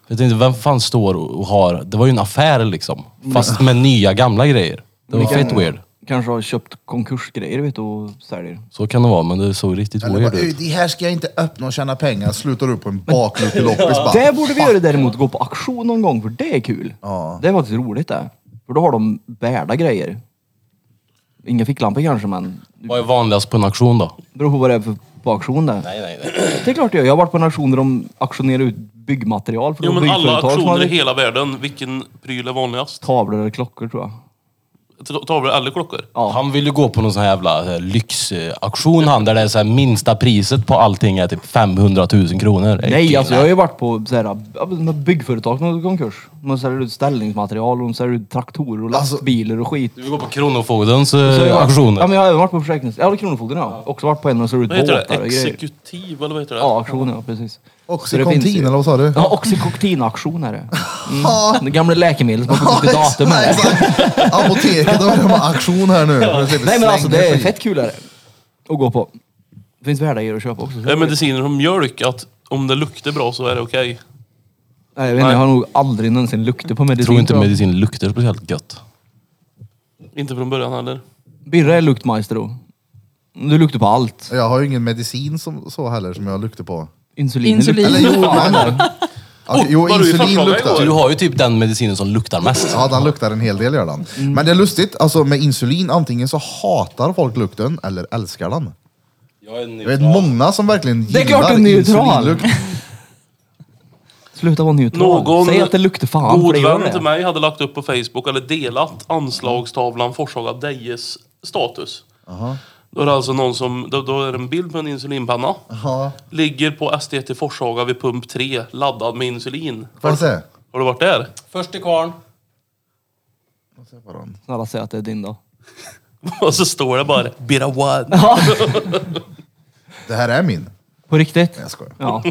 D: Jag tänkte, vem fan står och har... Det var ju en affär liksom. Fast med nya gamla grejer. Det var fett weird.
B: Kanske har köpt konkursgrejer vet du och säljer.
D: Så kan det vara, men det såg riktigt
A: Eller
D: weird
A: bara, "Oj,
D: ut.
A: det här ska jag inte öppna och tjäna pengar. Slutar upp på en bakluckeloppis bara.
B: Det borde vi göra däremot, gå på auktion någon gång för det är kul.
A: Ja.
B: Det är faktiskt roligt det. För då har de värda grejer. Inga ficklampor kanske men
D: Vad är vanligast på en auktion då?
B: Det beror på vad det är för, på auktion där.
D: Nej, nej, nej.
B: Det är klart jag gör. Jag har varit på en auktion där de auktionerar ut byggmaterial för
C: Jo
B: de
C: men alla
B: byggföretag som
C: auktioner i
B: hade
C: hela världen, vilken pryl är vanligast?
B: tavlor eller klockor tror jag.
C: T- Tavlor eller klockor?
B: Ja.
D: Han vill ju gå på någon sån här jävla så här lyxauktion han, där det är så här, minsta priset på allting är typ 500 000 kronor.
B: Nej, alltså jag har ju varit på så här, ja, men med byggföretag som har gått i konkurs. De säljer ut ställningsmaterial och de säljer ut traktorer och
A: Alltså-
B: lastbilar och skit.
D: Du vill gå på Kronofogdens
B: Så jag
D: eh,
B: har-
D: auktioner?
B: Ja men jag har även varit på försäkrings... Ja, Kronofogden ja. Också varit på en där de säljer ut
C: Vad heter det?
B: båtar och grejer.
C: Exekutiv eller vad heter det?
B: Ja, auktion ja, precis. Så det finns
A: Oxycontin
B: ju-
A: eller vad sa du?
B: Ja, oxycontin-auktion är det. Mm. Det gamla läkemedel som har gått ut Typ i datum är det.
A: Exakt. Apoteket har börjat med aktion här nu.
B: Nej men alltså det är fett kul är det. Att gå på. Det finns värda grejer att köpa också.
C: Det är mediciner som mjölk, att om det luktar bra så är det okej.
B: Nej, jag, vet inte, jag har nog aldrig någonsin luktat på medicin.
D: Jag tror inte
B: tror jag.
D: medicin luktar speciellt gött.
C: Inte från början heller.
B: Birra är luktmaestro. Du luktar på allt. Oh,
A: Jag har ju ingen medicin som, så heller som jag luktar på.
B: Insulin,
E: Insulin.
B: luktar-
A: Eller jo, men... Okej, jo,
C: var du i
A: insulin
C: första
D: Så
A: luktar.
D: du har ju typ den medicinen som luktar mest.
A: Ja, den luktar en hel del gör den.
B: Mm.
A: Men det är lustigt, alltså med insulin, antingen så hatar folk lukten eller älskar den.
G: Jag är
A: Jag vet
G: neutral.
A: många som verkligen gillar
B: Det är klart du är neutral.
A: insulinlukt.
B: Sluta vara neutral.
C: Någon
B: Säg att det luktar fan. för
C: god
B: det gör
C: vän till
B: det.
C: mig hade lagt upp på Facebook, eller delat, anslagstavlan Forshaga Dejes status. Då är det alltså någon som, då, då är det en bild på en insulinpanna.
A: Ja,
C: Ligger på SDT Forshaga vid pump 3, laddad med insulin.
A: får jag se?
C: Har du varit där?
D: Först till kvarn.
B: Snälla säg att det är din då.
C: Och så står det bara Bira one.
A: Det här är min.
B: På riktigt?
A: Jag skojar.
B: Ja.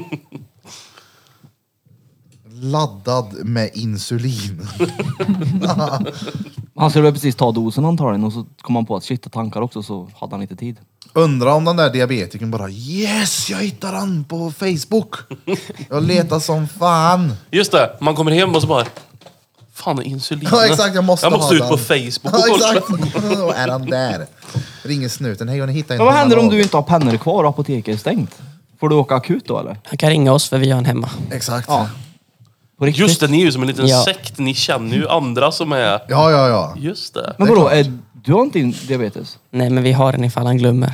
A: Laddad med insulin.
B: Han skulle väl precis ta dosen antagligen och så kom han på att shit, jag tankar också så hade han inte tid.
A: Undrar om den där diabetikern bara yes, jag hittar han på Facebook. Jag letar som fan.
C: Just det, man kommer hem och så bara Fan är insulin?
A: Ja exakt, jag måste,
C: jag måste
A: ha
C: ut
A: den.
C: på Facebook och
A: Ja,
C: kolla.
A: exakt. Då är han där. Ringer snuten, hej har ni hittat inte
B: Men vad
A: den
B: händer
A: här
B: om du
A: dagen?"
B: inte har pennor kvar och apoteket är stängt? Får du åka akut då eller?
F: Han kan ringa oss för vi har en hemma.
A: Exakt. Ja.
B: Ja. På riktigt?
C: Just det, ni är ju som en liten
F: Ja.
C: sekt. Ni känner ju andra som är...
A: ja, ja, ja.
C: Just det.
B: Men vadå, är, du har inte in diabetes?
F: Nej, men vi har den ifall han glömmer.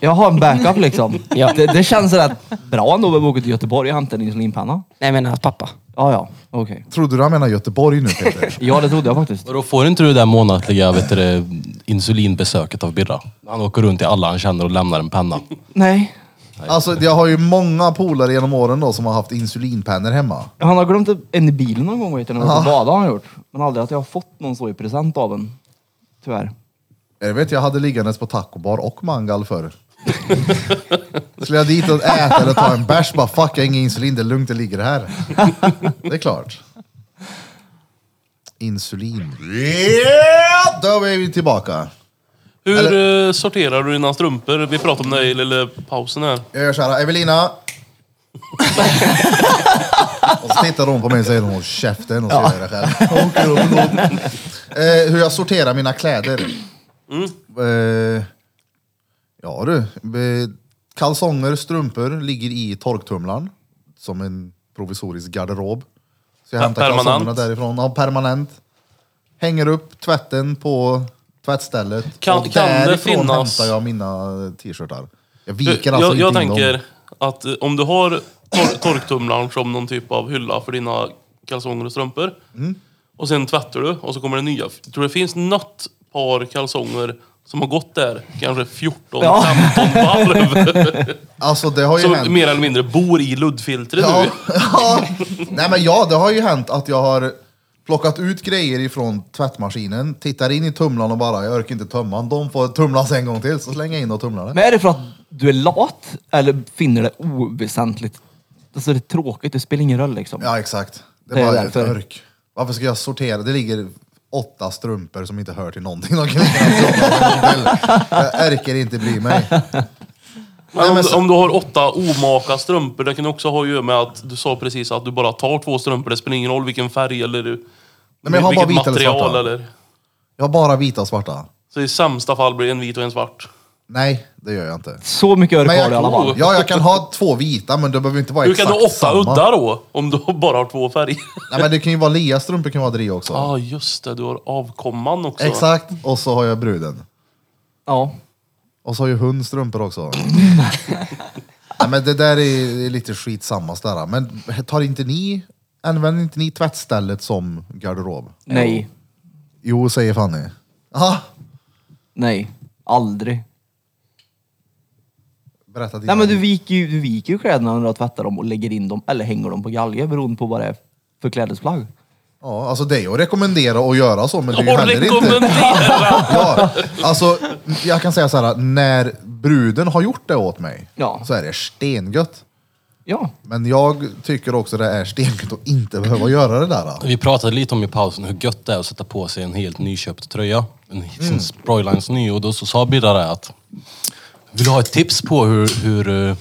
B: Jag har en backup liksom.
F: Ja.
B: det, det känns rätt bra ändå att åka till Göteborg och hämta en insulinpanna.
F: Nej, men hans pappa.
B: Ja, ja, okej.
A: Trodde du han menade Göteborg nu Peter?
B: Ja, det trodde jag faktiskt.
D: Och då får inte du det där månatliga vet du, det, insulinbesöket av Birra? Han åker runt till alla han känner och lämnar en penna.
B: Nej,
A: alltså jag har ju många polare genom åren då som har haft insulinpennor hemma.
B: han har glömt en i bilen någon gång vet jag, när jag ja. har han gjort. Men aldrig att jag har fått någon så i present av en. Tyvärr.
A: Jag Eh, vet, jag hade liggandes på tacobar och mangal förr. Skulle jag dit och äta eller ta en bärs, bara fuck jag har ingen insulin, det är lugnt, det ligger här. Det är klart. Insulin. Yeah! Då är vi tillbaka.
C: Hur eh, sorterar du dina strumpor? Vi pratade om det i lilla pausen här.
A: Jag gör såhär, Evelina. och så tittar hon på mig och säger håll käften och så gör jag det själv. Hon åker upp och går. eh, hur jag sorterar mina kläder.
C: Mm.
A: Eh, ja du, eh, kalsonger, strumpor ligger i torktumlaren. Som en provisorisk garderob. Så jag
C: Per-
A: hämtar
C: permanent?
A: kalsongerna därifrån. Ja, permanent. Hänger upp tvätten på tvättstället.
C: Kan-
A: och
C: kan det
A: därifrån
C: finnas-
A: hämtar jag mina t-shirtar. Jag
C: Du,
A: viker alltså
C: Jag,
A: inte
C: jag
A: in dem.
C: tänker att eh, om du har tor torktumlaren som någon typ av hylla för dina kalsonger och strumpor.
A: Mm.
C: Och sen tvättar du och så kommer det nya. Jag tror det finns något par kalsonger som har gått där kanske 14, 15 varv.
A: Alltså det har ju hänt.
C: Som mer eller mindre bor i luddfiltret
A: Ja,
C: nu.
A: ja. Nej men ja, det har ju hänt att jag har plockat ut grejer ifrån tvättmaskinen, tittar in i tumlaren och bara, jag orkar inte tömman. De får tumlas en gång till, så slänger jag in och tumlar det.
B: Men är det för att du är lat eller finner det oväsentligt? Alltså det är tråkigt, det spelar ingen roll liksom.
A: Ja, exakt. Det
B: Det
A: är
B: är
A: bara ett
B: därför.
A: örk. Varför ska jag sortera? Det ligger åtta strumpor som inte hör till någonting. De kan inte ens tumla en gång till. jag orkar inte bry mig.
C: Men
A: Nej,
C: om,
A: men
C: du-
A: så-
C: om du har åtta omaka strumpor, det kan också ha att göra med att du sa precis att du bara tar två strumpor. Det spelar ingen roll vilken färg eller Nej,
A: men jag har bara vita eller svarta.
C: eller.
A: Jag har bara vita och svarta.
C: Så i sämsta fall blir det en vit och en svart.
A: Nej, det gör jag inte.
B: Så mycket örk
A: Men
B: har
A: jag,
B: du i alla fall.
A: ja, jag kan ha två vita, men det behöver inte vara
C: Hur kan
A: exakt
C: du ha åtta
A: samma.
C: uddar då? Om du bara har två färger?
A: Nej, men det kan ju vara Leas strumpor, kan vara Drea också.
C: Ja, ah, just det. Du har avkomman också.
A: Exakt, och så har jag bruden.
B: Ja.
A: Och så har ju hund strumpor också. Nej, men det där är, är lite skitsamma sådär. Men tar inte ni, använder inte ni tvättstället som garderob?
B: Nej.
A: Jo, säger Fanny. Aha,
B: Nej. Aldrig.
A: berätta dina.
B: Nej men du viker ju, du viker ju kläderna när du har tvättat dem och lägger in dem eller hänger dem på galge beroende på vad det är för klädesplagg.
A: Ja, alltså det är ju att rekommendera att göra så, men det är ju
C: Och
A: heller inte...
C: rekommendera!
A: Ja, alltså, jag kan säga så här, när bruden har gjort det åt mig
B: Ja.
A: så är det stengött.
B: Ja.
A: Men jag tycker också det är stengött att inte behöva göra det där. alltså.
D: Vi pratade lite om i pausen hur gött det är att sätta på sig en helt nyköpt tröja. En mm. Sproilans ny och då så sa Birra det att vill du ha ett tips på hur, hur, eh,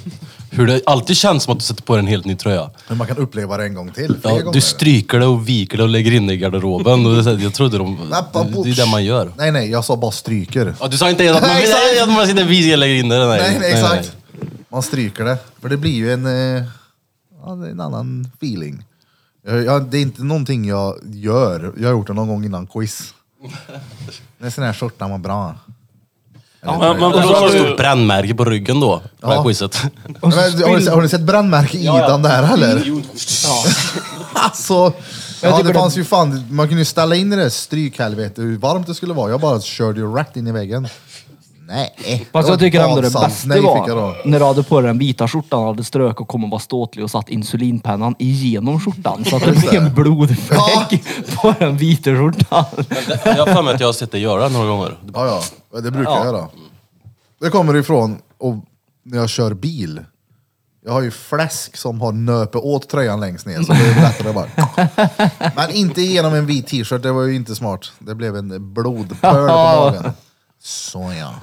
D: hur det alltid känns som att du sätter på dig en helt ny tröja?
A: Men man kan uppleva det en gång till. fler
D: Ja,
A: gånger.
D: du stryker det och viker det och lägger in det i garderoben. Och det, är så här, jag trodde de,
A: Nappa
D: det,
A: bort.
D: det är det man gör.
A: Nej, nej, jag sa bara stryker.
D: Ja, du sa inte att man,
A: Nej, exakt.
D: nej, att man sitter och viker och lägger in det. Nej,
A: Nej, nej, exakt. Man stryker det. För det blir ju en, eh, ja, det är en annan feeling. Jag, jag, det är inte någonting jag gör. Jag har gjort det någon gång innan quiz. Det är sån här skjorta man bra.
C: Men, men,
D: Och så har du
C: du,
D: ett brännmärke på ryggen då, på det
A: Ja.
D: här quizet.
A: Men, har, du, har ni sett brandmärke i den där eller?
G: Jo,
A: Alltså, ja, det
B: tycker det-
A: fanns ju fan, man kunde ju ställa in i det där strykhelvete hur varmt det skulle vara. Jag bara körde ju rätt in i väggen. Nej.
B: Fast jag tycker ändå det
A: Nej,
B: bästa
A: fick jag då.
B: var när du hade på dig den vita skjortan, hade strök och kom och var ståtlig och satt insulinpennan igenom skjortan så att det blev en blodfläck på den vita skjortan.
D: Jag har för mig att jag har sett dig göra det några gånger.
A: Ja, ja, det brukar jag göra. Det kommer ifrån och när jag kör bil. Jag har ju fläsk som har nöpe åt tröjan längst ner, så det är lättare bara. Men inte genom en vit t-shirt, det var ju inte smart. Det blev en blodpöl på magen. Så ja.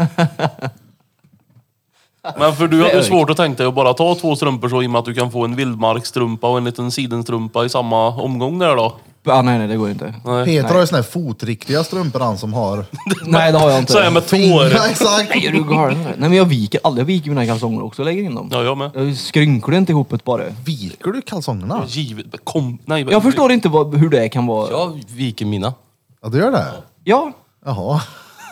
C: men för du hade ju svårt att tänka dig att bara ta två strumpor så i och med att du kan få en vildmarkstrumpa och en liten sidenstrumpa i samma omgång där då.
B: Ah, nej, nej, det går inte.
A: Peter har ju såna här fotriktiga strumpor han som har.
B: Nej, det har jag inte.
C: Så här med tår.
A: Ja, exakt.
B: Nej, är du galen eller? Nej, men jag viker aldrig. Jag viker mina kalsonger också och lägger in dem.
C: Ja, jag med.
B: Jag skrynklar inte ihop ett bara.
A: Viker du kalsongerna?
C: Givet, kom, nej,
B: Jag förstår inte vad, hur det kan vara. Ja.
D: Jag viker mina.
A: Ja, du gör det? Jaha.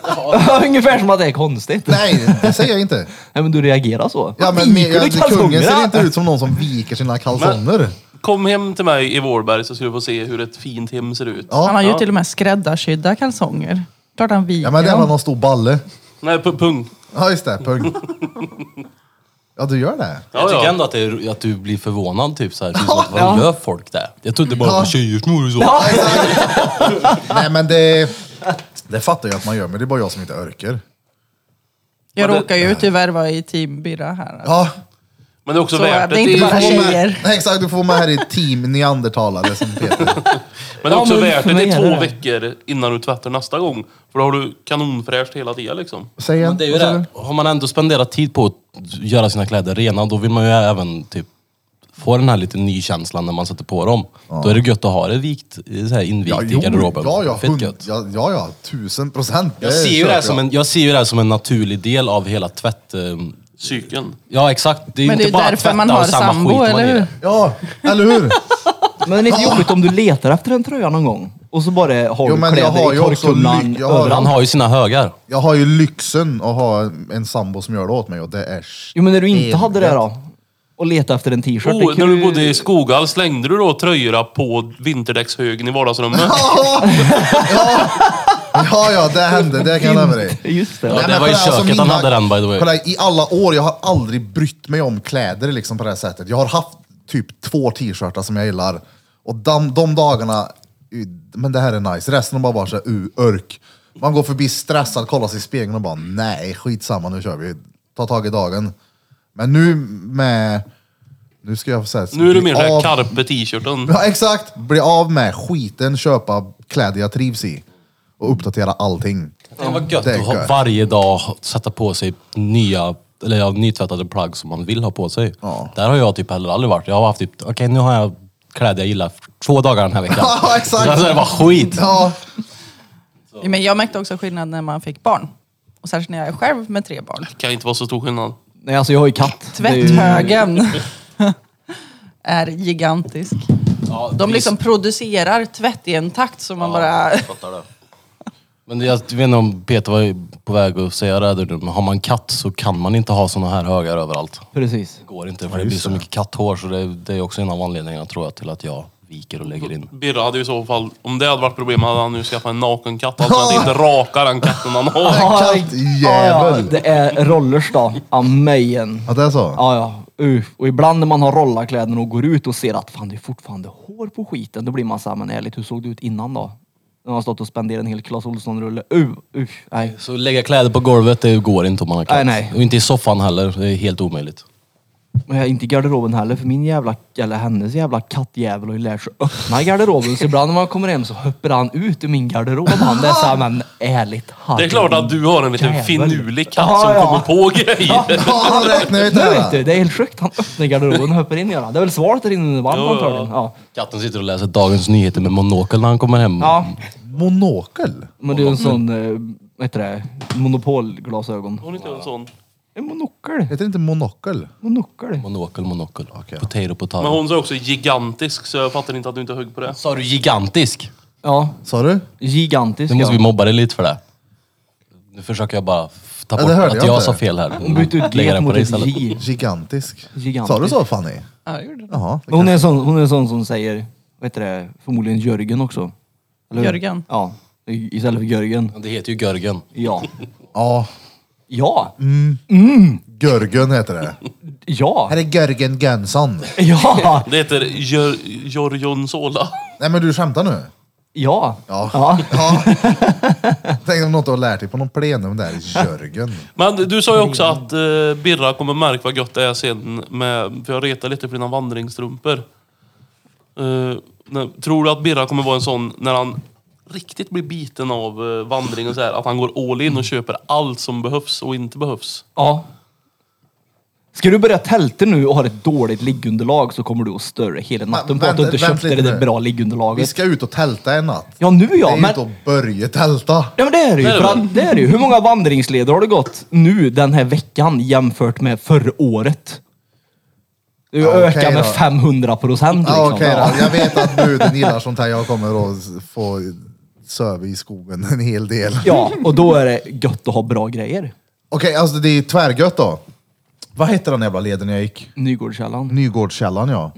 B: Ungefär som att det är konstigt. Nej,
A: Nej, det säger jag inte.
B: men du reagerar så.
A: Ja, men,
B: Vad viker
A: men,
B: du
A: kungen ser
B: kalsongerna?
A: inte ut som någon som viker sina kalsonger.
C: Kom hem till mig i Vårberg så ska du få se hur ett fint hem ser ut.
A: Ja.
E: Han har ju till och med skräddarsydda kalsonger. Klart han viker
A: Ja men det var
E: dem.
A: någon stor balle.
C: Nej, pu- pung.
A: Ja just det, pung. Ja du gör det?
C: Ja,
D: jag tycker
C: ja.
D: ändå att, det är, att du blir förvånad. Typ, så här, typ, att, vad gör folk där? Jag trodde bara det var tjejer som gjorde så.
A: Nej men det, det fattar jag att man gör men det är bara jag som inte orkar.
E: Jag
C: Men det-
E: råkar ju tyvärr vara i team Birra här. alltså.
A: Ja,
C: Men det är också
E: Så
C: värt
E: det är inte
C: ju-
E: bara
A: du får vara med-
E: tjejer.
A: Nej, exakt, du får vara med här i team neandertalare som Peter.
C: Men det är
B: Ja,
C: också
B: men
C: värt
B: för
C: det. Det
B: mig
C: är
B: är
C: två
B: det.
C: veckor innan du tvättar nästa gång. För då har du kanonfräscht hela tiden liksom.
A: Säg igen.
D: Men det är ju det. Har man ändå spenderat tid på att göra sina kläder rena, då vill man ju även typ få den här lite nykänslan när man sätter på dem. Då är det gött att ha det vikt, eh, så här invikt
A: Ja,
D: i garderoben.
A: ja, ja,
D: Fett
A: hund,
D: gött.
A: ja, ja, ja, tusen procent.
D: Jag ser, ju det
A: köper
D: här som
A: jag.
D: en, jag ser ju det här som en naturlig del av hela tvätt... eh,
C: Cykeln.
D: Ja exakt, det är ju
E: Men
D: inte
E: det är ju
D: bara
E: därför
D: tvätta
E: man har
D: och samma
E: sambo,
D: skit man
E: eller
D: är i
E: hur?
D: det.
A: Ja, eller hur?
B: Men det är lite jobbigt om du letar efter en tröja någon gång och så bara har
A: Jo,
B: du
A: men jag
B: kläder
A: har
B: i
A: ju också
B: torktumlaren
A: lyck- jag har-
D: Han
B: överallt.
D: har ju sina högar.
A: Jag har ju lyxen att ha en sambo som gör det åt mig och det är...
B: Jo men när du inte
A: Det är
B: hade det
A: rätt.
B: då? Och leta efter en t-shirt. det
C: Oh,
B: kan
C: när du
B: ju-
C: bodde i Skoghall, slängde du då tröjorna på vinterdäckshögen i vardagsrummet?
A: Ja, ja, ja, det hände, det kan jag lämna dig.
B: Just det.
D: Ja,
A: Nej,
D: det
A: men
D: var i
A: kolla, alltså,
D: köket han hade den, by the way.
A: Kolla, I alla år, jag har aldrig brytt mig om kläder liksom på det här sättet. Jag har haft typ två t-shirtar som jag gillar. Och de, de dagarna, u- men det här är nice. Resten har bara varit såhär, uh, örk. Man går förbi stressad, kollar sig i spegeln och bara, nej skitsamma nu kör vi. Ta tag i dagen. Men nu med, nu ska jag säga
C: Nu är du mer såhär
A: av-
C: carpe t-shirten.
A: Ja exakt! Bli av med skiten, köpa kläder jag trivs i. Och uppdatera allting.
D: Det var gött
A: Det är
D: att ha,
A: gött.
D: varje dag ha- sätta på sig nya, eller ja, nytvättade plagg som man vill ha på sig.
A: Ja.
D: Där har jag typ heller aldrig varit. Jag har haft typ, okej nu har jag kläder jag gillar två dagar den här veckan.
A: Ja, exakt.
D: Sen så är det bara skit.
A: Ja,
E: Men jag märkte också skillnad när man fick barn. Och särskilt när jag är själv med tre barn.
C: Kan inte vara så stor skillnad.
B: Nej alltså jag har ju katt. Det är ju-
E: Tvätthögen är gigantisk. De liksom producerar tvätt i en takt som man bara...
D: Men jag vet inte om Peter var ju på väg att säga det här nu, men har man katt så kan man inte ha såna här högar överallt.
B: Precis.
D: Det går inte för det blir så mycket katthår så det, det är också en av anledningarna tror jag till att jag viker och lägger in.
C: Birra hade ju i så fall, om det hade varit problem hade han nu skaffat en nakenkatt. Alltså inte raka den katten han har.
B: Ja, ja,
A: kattjävel!
B: det är rollers då. Amen.
A: Att det är så?
B: Ja, ja. Uh. Och ibland när man har rollarkläderna och går ut och ser att fan det är fortfarande hår på skiten. Då blir man såhär, men ärligt hur såg det ut innan då? När man har stått och spenderat en hel Clas Ohlson-rulle. Uh, uh, nej.
D: Så lägga kläder på golvet, det går inte om man har katt.
B: Nej, nej.
D: Och inte i soffan heller, det är helt omöjligt.
B: Men jag är inte i garderoben heller för min jävla, eller hennes jävla kattjävel har ju lärt sig att öppna garderoben. Så ibland när man kommer hem så hoppar han ut ur min garderob. Han det är såhär, men ärligt.
C: Det är klart att du har en liten
B: Jävel.
C: finurlig katt
B: Ja,
C: som
B: ja.
C: kommer på grejer.
A: Ja, han räknar ut det
B: Nu vet du,
A: här!
B: det är helt sjukt. Han öppnar garderoben och hoppar in i den. Det är väl svalt där inne nu varmt
C: Ja, ja.
B: antagligen. Ja.
D: Katten sitter och läser Dagens Nyheter med monokel när han kommer hem.
B: ja.
A: Monokel?
B: Men det är ju en sån, eh, vad heter det, monopolglasögon.
C: Har ni inte en sån?
B: En monokel.
A: Heter det inte monokel?
B: Monokel.
D: Monokel, monokel. Potato, potato.
C: Men hon sa också gigantisk, så jag fattar inte att du inte högg på det.
D: Sa du gigantisk?
B: Ja,
A: Sa du?
B: gigantisk.
D: Nu måste vi
B: ja.
D: mobba dig lite för det. Nu försöker jag bara f- ta
A: Ja,
D: bort
A: det hörde
D: att
A: jag
D: jag,
A: inte.
D: sa fel här.
B: Hon bytte ut
D: Lägga
B: G
D: den på
B: mot
D: dig
B: ett
D: istället.
B: J.
A: Gigantisk.
B: Gigantisk.
A: Sa du så Fanny?
E: Ja, jag gjorde det.
A: Jaha. det
B: Hon
A: kanske-
B: är, en sån, hon är en sån som säger, vad heter det, förmodligen Jörgen också. Eller hur?
E: Jörgen.
B: Ja, i- istället för Jörgen.
D: Det heter ju Görgen.
B: Ja.
A: Ja.
B: Ja!
A: Görgen heter det.
B: Ja!
A: Här är Görgen Jönsson.
B: Ja!
C: Det heter Jör- Jorjonsola.
A: Nej men du skämtar nu?
B: Ja!
A: Ja.
B: Ja.
A: Ja. Tänk om något du har lärt dig på någon plenum där. Jörgen.
C: Men du sa ju också att eh, Birra kommer märka vad gött det är sen med, för jag retar lite för dina vandringsstrumpor. Eh, när, tror du att Birra kommer vara en sån när han riktigt blir biten av eh, vandring och så här, att han går all in och köper allt som behövs och inte behövs?
B: ja. Ska du börja tälta nu och ha ett dåligt liggunderlag så kommer du att störa hela natten på
A: vänta-
B: att du
A: vänta
B: inte köpte
A: lite
B: det där
A: nu.
B: bra
A: Vi
B: liggunderlaget.
A: ska ut och tälta en natt.
B: Ja, nu
A: Det är
B: ja,
A: ju
B: men...
A: inte att börja tälta.
B: Ja men det är det ju.
C: Det är
B: För
C: det
B: att, det är det ju. Hur många vandringsleder har du gått nu den här veckan jämfört med förra året? Du
A: Ja, okej
B: ökar med
A: då.
B: 500 procent liksom.
A: Ja, okej
B: Ja.
A: då. Jag vet att bruden gillar sånt här. Jag kommer att få söva i skogen en hel del.
B: ja, och då är det gött att ha bra grejer.
A: Okej, alltså det är tvärgött då. Vad hette den jävla leden jag gick?
B: Nygårdskällan.
A: Nygårdskällan ja.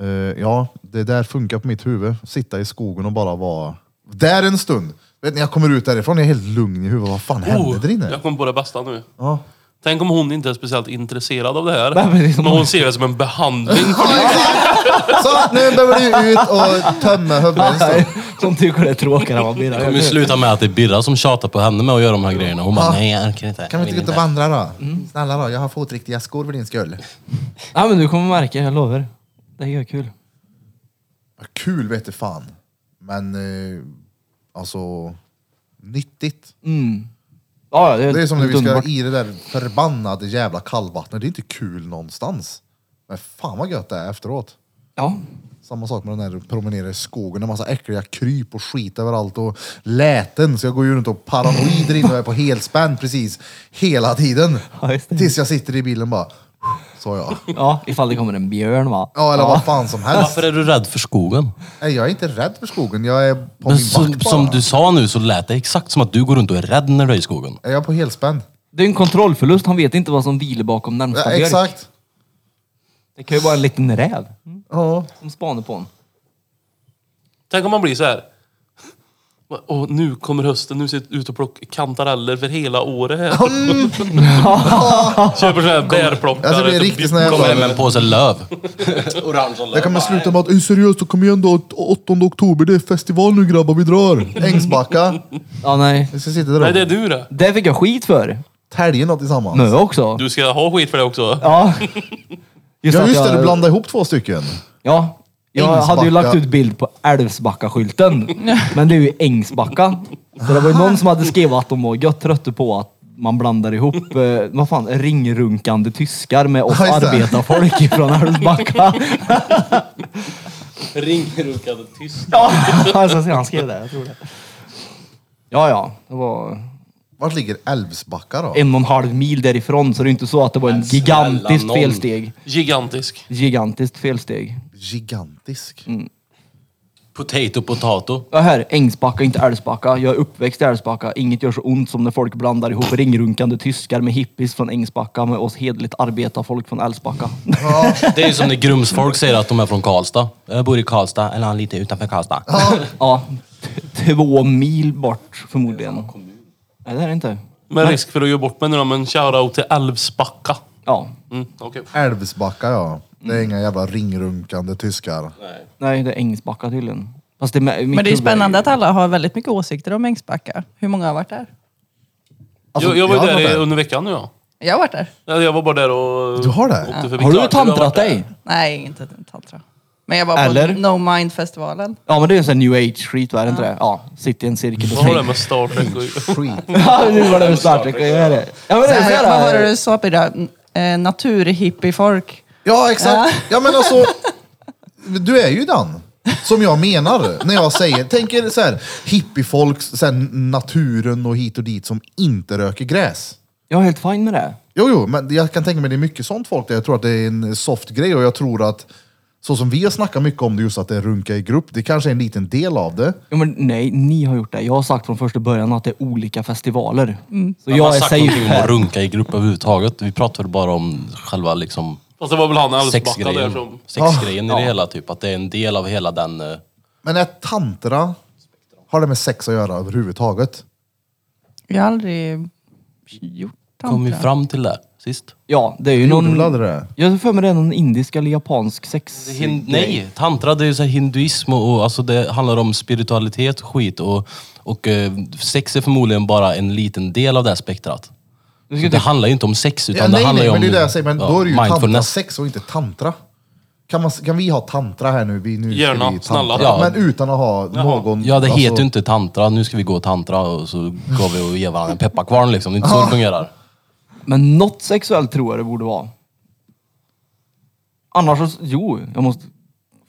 A: Eh, ja, det där funkar på mitt huvud. Sitta i skogen och bara vara där en stund. Vet ni, jag kommer ut därifrån, jag är helt lugn i huvudet. Vad fan
C: Oh,
A: hände där inne?
C: jag kom på det bästa nu.
A: Ja.
C: Tänk om hon inte är speciellt intresserad av det här,
B: Nej, men det är som-
C: men hon ser det som en behandling.
A: Så, nu behöver du ut och tömma huvudet en stund.
B: Som tycker det är tråkigare än vad
D: Det kommer ju
B: blir.
D: sluta med att det är Birra som tjatar på henne med att göra de här grejerna. Hon bara,
A: Ja.
D: nej jag orkar inte.
A: Kan vi inte gå
D: vill
A: ut och vandra då? Snälla då, jag har fotriktiga skor för din skull.
B: Ja men du kommer märka, jag lovar. Det är kul.
A: Ja, Kul vet du fan. Men eh, alltså, nyttigt.
B: Mm. Ja, ja, det, är
A: Det är som när vi
B: helt
A: ska
B: underbart.
A: i det där förbannade jävla kallvattnet. Det är inte kul någonstans. Men fan vad gött det är efteråt.
B: Ja.
A: Samma sak med den där promenera i skogen. Det är massa äckliga kryp och skit överallt och läten. Så jag går ju runt och paranoid där inne och är på helspänn precis hela tiden.
B: Ja, just det.
A: Tills jag sitter i bilen bara, så jag.
B: ja, ifall det kommer en björn va.
A: Ja, eller vad fan som helst.
D: Varför är du rädd för skogen?
A: Nej, jag är inte rädd för skogen. Jag är på
D: Men
A: min
D: som,
A: vakt bara.
D: som du sa nu så lät det exakt som att du går runt och är rädd när du är i skogen.
A: Är jag på helspänn?
B: Det är en kontrollförlust, han vet inte vad som vilar bakom närmsta
A: Ja,
B: björk.
A: exakt.
B: Det kan ju vara en liten räv
A: Ja. Alltså,
B: som spanar på honom.
C: Tänk om man blir så här. Och nu kommer hösten, nu ser jag ut och plockar kantareller för hela året här. Köper sån här bärplockare.
A: Alltså, det är
C: typ
A: riktigt sån här
C: blom-
D: Kommer det med en påse löv?
A: Det kommer sluta med att, "Ey, seriöst, då kom igen då, 8 oktober, det är festival nu grabbar, vi drar. Ängsbacka.
B: Ja, nej.
A: Vi ska sitta där
C: Nej, det är
A: och
C: du det.
B: Det fick jag skit för.
A: tälja något tillsammans.
B: Nu också.
C: Du ska ha skit för det också.
B: Ja. Just
A: Ja
B: att
A: just det,
B: jag-
A: du blandade ihop två stycken.
B: Ja. Jag hade ju
A: Ängsbacka.
B: lagt ut bild på Älvsbacka-skylten. men det är ju Ängsbacka. Så det var ju någon som hade skrivit att de var gött trötta på att man blandar ihop, eh, vad fan, ringrunkande tyskar med oss
A: Ja, just det.
B: arbetarfolk från Älvsbacka.
G: Ringrunkade tysk.
B: ja, alltså, han skrev det, jag tror det. Ja, ja. Det var
A: Vart ligger Älvsbacka då?
B: en och en halv mil därifrån så det är inte så att det var en
D: snälla
B: gigantiskt
D: nån.
B: felsteg.
C: Gigantisk.
B: Gigantiskt felsteg.
A: Gigantisk.
D: Potato, potato.
B: Ja, här, Ängsbacka, inte Älvsbacka. Jag är uppväxt i Älvsbacka. Inget gör så ont som när folk blandar ihop ringrunkande tyskar med hippies från Ängsbacka med oss hederligt arbetarfolk från Älvsbacka.
D: Det är ju som när Grumsfolk säger att de är från Karlstad. Jag bor i Karlstad, eller lite utanför Karlstad.
B: ja, t- två mil bort förmodligen. Nej, det är det inte.
C: Med risk för att göra bort mig nu då, men shoutout till Älvsbacka.
B: Ja,
C: Mm, okej.
A: Älvsbacka ja. Det är inga jävla ringrunkande tyskar.
B: nej, det är Ängsbacka tydligen. Fast det är med,
E: Men det är ju spännande att alla har väldigt mycket åsikter om Ängsbacka. Hur många har varit där?
A: Alltså,
C: jag, jag var ju
A: jag har
C: där i-
A: varit där.
C: under veckan nu ja.
E: Jag har varit där.
C: Ja, Jag var bara där och...
A: Du har det?
C: åkte förbi.
B: Har du
C: Klart, jag varit
B: tantrat
C: där.
B: dig?
E: Nej, inte tantra. Men jag var
B: Eller?
E: på No Mind-festivalen.
B: Ja, men det är ju sån här new age skit, va? Är det inte det? Ja, sitter i en cirkel och
C: Vad har det
B: tänker.
C: med Star Trek att göra?
A: Skit.
B: Ja, nu var det med Star Trek att göra. Ja, men det är så
E: Här, vad var det
B: här.
E: du sa Birra? Eh, Naturhippiefolk.
A: Ja exakt. Ja men alltså. Du är ju den. Som jag menar när jag säger, tänker så här, hippiefolk, så här, naturen och hit och dit som inte röker gräs.
B: Jag är helt fin med det.
A: Jo, jo, men jag kan tänka mig det är mycket sånt folk där. Jag tror att det är en soft grej och jag tror att så som vi har snackat mycket om det, just att det är runka i grupp, det kanske är en liten del av det.
B: Ja, men nej, ni har gjort det. Jag har sagt från första början att det är olika festivaler. Så
D: Jag har
B: jag är
D: sagt någonting om
B: safe
D: att
B: här.
D: runka i grupp överhuvudtaget. Vi pratar väl bara om själva liksom
C: Fast Alltså, det var väl han Älvsbacka där
D: sexgrejen.
C: som...
D: Sexgrejen i det hela, typ. Att det är en del av hela den... eh,
A: Men är tantra, har det med sex att göra överhuvudtaget?
E: Jag har aldrig gjort
D: Kom vi
E: tantra.
D: fram till det sist?
B: Ja, det är ju
A: Gjorde
B: någon...
A: väl aldrig det?
B: Jag har för mig det är någon indisk eller japansk sex...
D: Hin- nej, tantra det är ju så här hinduism och, och alltså det handlar om spiritualitet och skit. Och, och eh, sex är förmodligen bara en liten del av det här spektrat.
B: Nu
D: Så
B: ska
D: det
B: jag
D: handlar ju inte om sex utan
A: Ja,
D: det
A: nej,
D: handlar
A: nej,
D: ju
A: men
D: om
A: det är det jag säger, men
D: ja,
A: då är det ju tantra
D: mindfulness.
A: sex och inte tantra. Kan, man, kan vi ha tantra här nu? Vi, nu ska
C: Gärna,
A: vi tantra.
C: snälla.
D: Ja.
A: Men utan att ha någon...
D: Ja det
A: alltså-
D: heter ju inte tantra, nu ska vi gå och tantra och så går vi och ger varandra en pepparkvarn liksom. Det är inte så det fungerar.
B: Men något sexuellt tror jag det borde vara. Annars så, jo, jag måste...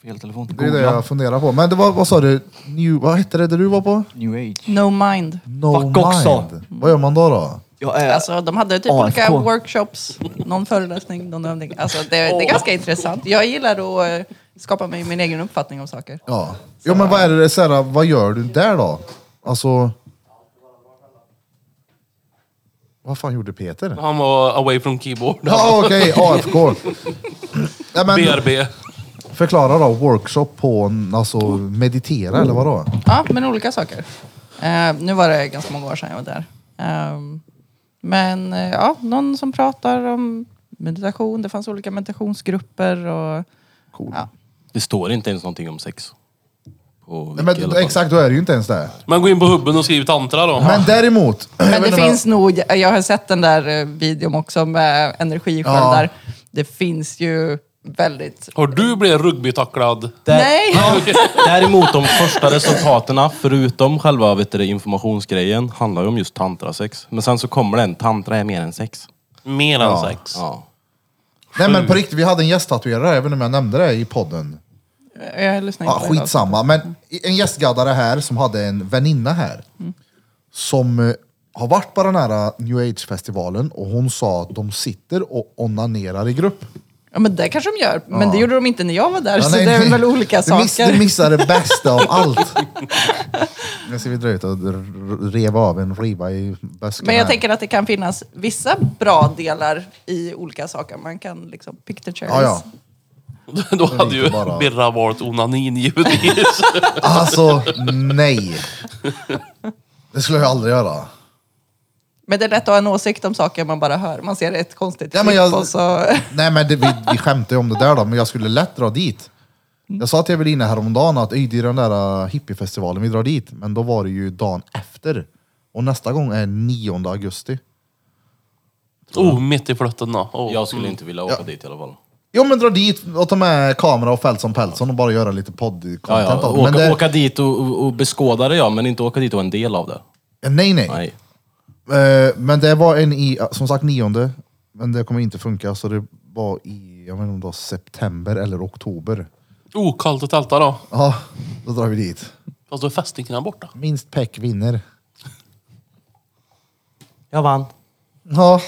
B: Fel telefon.
A: Det är det
B: Googla.
A: jag funderar på. Men det var, vad sa du? New, vad hette det där du var på?
B: New age.
E: No mind.
A: No
B: Fuck också.
A: Vad gör man då? då?
B: Jag är...
E: Alltså, de hade typ
B: AFK.
E: olika workshops, någon föreläsning, någon övning. Alltså, det, det är ganska intressant. Jag gillar att eh, skapa mig min egen uppfattning om saker.
A: Ja. ja, men vad är det, så här, vad gör du där då? Alltså... Vad fan gjorde Peter?
C: Han var away from keyboard.
A: Ja, okej, AFK. Ja, men,
C: BRB.
A: förklara då, workshop på en- alltså, meditera eller vadå?
E: Ja, men olika saker. Eh, nu var det ganska många år sedan jag var där. Ehm, men eh, ja, någon som pratar om meditation. Det fanns olika meditationsgrupper. Och, ja.
D: Det står inte ens någonting om sex. På
A: Nej,
D: Wiki i alla
A: men,
D: fall.
A: exakt, då är det ju inte ens det. Men,
C: Men gå in på hubben och skriv tantra då.
A: däremot. jag
E: Men
A: vet
E: det
A: inte vad-
E: finns nog, jag har sett den där eh, videon också med energisköldar. Det finns ju väldigt...
C: Har du blivit rugbytacklad?
D: Där-
E: Nej!
D: Däremot de första resultaten, förutom själva vet du, det, informationsgrejen, handlar ju om just tantrasex. Men sen så kommer det en, tantra är mer än sex.
C: Mer än sex.
D: Ja.
A: Nej men på riktigt, vi hade en gästtatuerare, även om jag nämnde det i podden.
E: Jag lyssnar
A: Ja,
E: inte på det. Mm.
A: skitsamma, men en gästgaddare här som hade en väninna här. Som eh, har varit på den här eh, new age-festivalen och hon sa att de sitter och onanerar i grupp.
E: Ja, men det kanske de gör. Men det gjorde de inte när jag var där.
A: Ja,
E: så
A: nej,
E: det är
A: nej.
E: väl olika
A: du miss-
E: saker.
A: Du missar det bästa av allt. Nu ska vi dra ut och r- reva av en riva i böskan
E: Men jag
A: här.
E: tänker att det kan finnas vissa bra delar i olika saker. Man kan liksom picture cherries.
A: Ja, ja.
C: Då hade ju
A: bara-
C: Birra valt onanin givetvis.
A: Alltså, nej. Det skulle jag aldrig göra.
E: Men det är lätt att ha en åsikt om saker man bara hör. Man ser ett konstigt
A: Ja,
E: klipp
A: men jag-
E: och så...
A: Nej men det, vi, vi skämtar ju om det där då, men jag skulle lätt dra dit. Jag sa till Evelina häromdagen att "Oj, det är den där äh, hippiefestivalen vi drar dit, men då var det ju dagen efter. Och nästa gång är 9 augusti.
C: oh, mitt i flötten då. Oh.
D: Jag skulle inte vilja åka dit i alla fall.
A: Jo men dra dit och ta med kamera och Feltson Peltson och bara göra lite
D: Ja,
A: podd-content
D: ja.
A: av det.
D: Åka,
A: Men det-
D: åka dit och, och, och beskåda det ja, men inte åka dit och vara en del av det.
A: Nej nej.
D: Nej.
A: Eh, men det var en i, som sagt nionde, men det kommer inte funka så det var i, jag vet inte om det var september eller oktober.
C: Oh, kallt att tälta då.
A: Ja, då drar vi dit.
C: Fast då är fästingarna borta.
A: Minst peck vinner.
D: Jag vann.
A: Ja.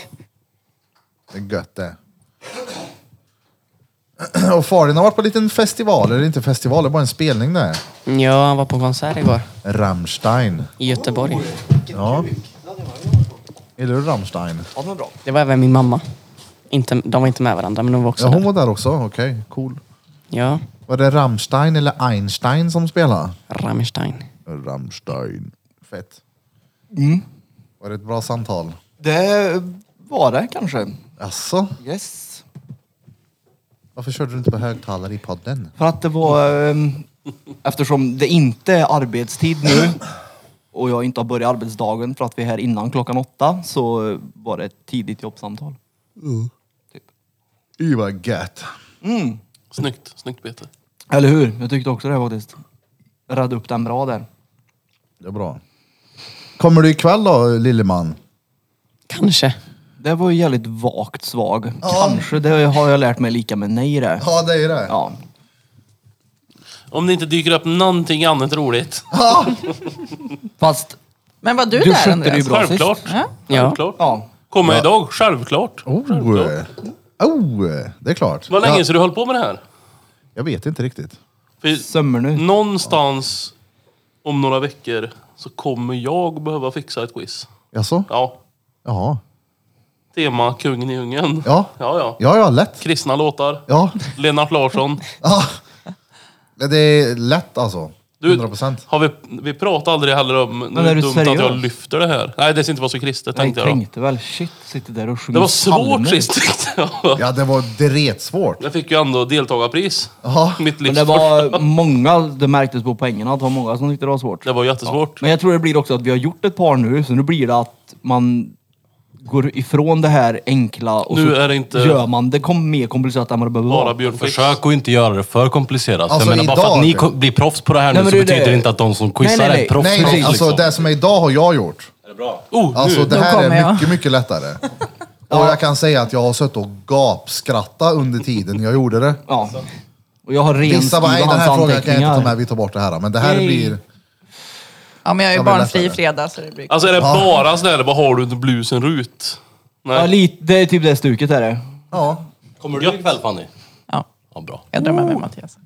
A: Det är gött det. Och Farin har varit på en liten festival, eller inte festival, det var en spelning där.
F: Ja, han var på konsert igår.
A: Rammstein.
F: I Göteborg.
A: Oh. Ja. Gillar du Rammstein?
F: Det var även min mamma. Inte, de var inte med varandra, men de var också
A: Ja, hon
F: där.
A: var där också, okej, cool.
F: Ja,
A: Var det Rammstein eller Einstein som spelade?
F: Rammstein.
A: Rammstein. Fett. Var det ett bra samtal?
B: Det var det kanske.
A: Alltså,
B: Yes.
A: varför körde du inte på högtalare i podden?
B: För att det var... ehm, eftersom det inte är arbetstid nu och jag inte har börjat arbetsdagen för att vi är här innan klockan åtta så eh, var det ett tidigt jobbsamtal.
A: Y vad gött.
C: Snyggt, snyggt Peter.
B: Eller hur? Jag tyckte också det faktiskt. Rädde upp den bra där.
A: Det är bra. Kommer du ikväll då, lilleman?
F: Kanske.
B: Det var ju jävligt vagt svag. Kanske, det har jag lärt mig lika med nej det.
A: Ja, det är det.
B: Ja.
C: Om det inte dyker upp någonting annat roligt.
B: Fast
E: Men var du,
B: du
E: där
B: skötte det ju
E: Andreas?
B: bra sist.
C: Självklart.
E: Ja.
F: Ja.
C: Självklart.
B: Ja.
C: Komma idag, självklart.
A: Oh, eh, oh, eh, det är klart.
C: Vad länge
A: jag,
C: sedan du höll på med det här?
A: jag vet inte riktigt.
C: För
B: Sömmer nu.
C: Någonstans om några veckor så kommer jag behöva fixa ett quiz.
A: Jaså?
C: Ja.
A: Jaha.
C: Tema Kungen i djungeln.
A: Ja.
C: ja, ja.
A: Ja, ja, lätt.
C: Kristna låtar.
A: Ja,
C: Lennart Larsson.
A: ja. Men Det är lätt alltså.
C: Du-
A: 100 procent.
C: Har vi, vi pratar aldrig heller om... Nu
B: Men
C: är
B: är
C: det
B: du
C: dumt att
B: seriös?
C: jag lyfter det här. Nej, det ska inte vara så kristet
B: Jag
C: tänkte jag. då.
B: tänkte väl, shit, sitter där och sjunger
C: Det var svårt
B: psalmer.
C: sist tyckte jag.
A: Ja, det var det ret svårt.
C: Jag fick ju ändå deltagarpris.
A: Ja.
C: Mitt
B: Men
C: livs
B: det
C: första.
B: var många, det märktes på poängerna att det var många som tyckte det var svårt.
C: Det var jättesvårt.
B: Men jag tror det blir också att vi har gjort ett par nu, så nu blir det att man går ifrån det här enkla och
C: Nu
B: så
C: är det inte-
B: gör man det kom mer komplicerat än vad det behöver
C: Bara
B: vara.
C: Björn Skifs.
D: Försök att inte göra det för komplicerat.
A: Alltså,
D: jag menar, bara för
A: idag-
D: att ni ko- blir proffs på det här
B: Nej,
D: nu
B: men
D: så
B: det är
D: betyder
B: det.
D: det inte att de som
B: Nej,
D: quizar
B: nej, nej.
D: är proffs. liksom.
A: Nej,
D: proffs,
A: nej, alltså det som är idag har jag gjort.
G: Är det bra?
C: Oh,
A: Alltså
C: liksom. nu.
A: det här
E: kommer
A: är
E: jag.
A: mycket, mycket lättare. Och jag kan säga att jag har suttit och gapskrattat under tiden jag gjorde det.
B: Ja. Och jag har
A: Vissa
B: renskriva
A: bara, "Nej, den
B: hans
A: här frågan kan jag inte ta
B: anteckningar.
A: med, vi tar bort det här. Men det här
B: Nej.
A: blir...
E: Ja, men jag är ju
A: Jag blir
E: barnfri i
A: lättare.
E: fredag så det blir
C: Alltså är det bara sådär, vad har du inte blusen rut?
B: Ja,
C: Nej.
B: lite, det är typ det stuket är det.
A: Ja,
D: Kommer du ikväll Fanny?
E: Ja,
D: Ja, bra.
E: jag drömmer med Mattias.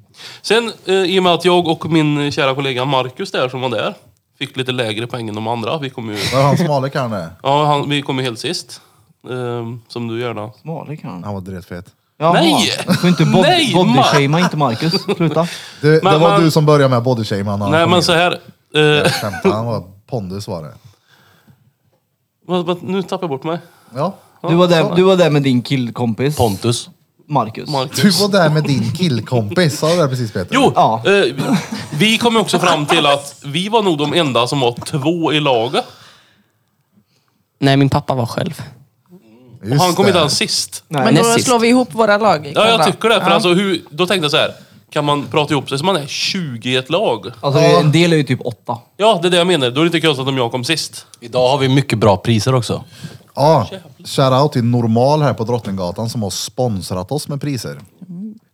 C: Sen eh, i och med att jag och min kära kollega Marcus där som var där fick lite lägre poäng än de andra. Vi kom ju,
A: var han smale kan det?
C: ja, han, vi kom ju helt sist. Ehm, som du gärna.
B: Smale kan.
A: Han var dretfet.
B: Jaha.
C: Nej!
B: Får inte bod-
C: Nej, Mark!
B: bodyshamea inte Marcus. Sluta.
A: Du, det
C: Men
A: var
C: man-
A: du som började med bodyshaman.
C: Nej men så här. Eh,
A: Han var pondus var det.
C: vad- vad- nu tappar jag bort mig.
A: Ja.
B: Du var där, du var där med din killkompis
D: Pontus.
B: Marcus.
A: Du
C: Marcus.
A: var där med din killkompis, sa du det precis Peter?
C: Jo!
B: Ja.
C: Eh, vi kom ju också fram till att vi var nog de enda som var två i laget.
F: Nej, min pappa var själv.
A: Just
C: Han kom inte
A: det.
C: ens sist.
B: Nej.
E: Men då
F: näst sist.
E: slår vi ihop våra lag
C: Ja,
E: ikväll,
C: jag
E: va?
C: tycker det. För
E: Ja.
C: alltså, hur, då tänkte jag så här. Kan man prata ihop sig så man är 20 i ett lag?
B: Alltså
A: Ja.
B: en del är ju typ åtta.
C: Ja, det är det jag menar. Då är det inte konstigt om jag kom sist.
D: Idag har vi mycket bra priser också.
A: Ja, shoutout till Normal här på Drottninggatan som har sponsrat oss med priser.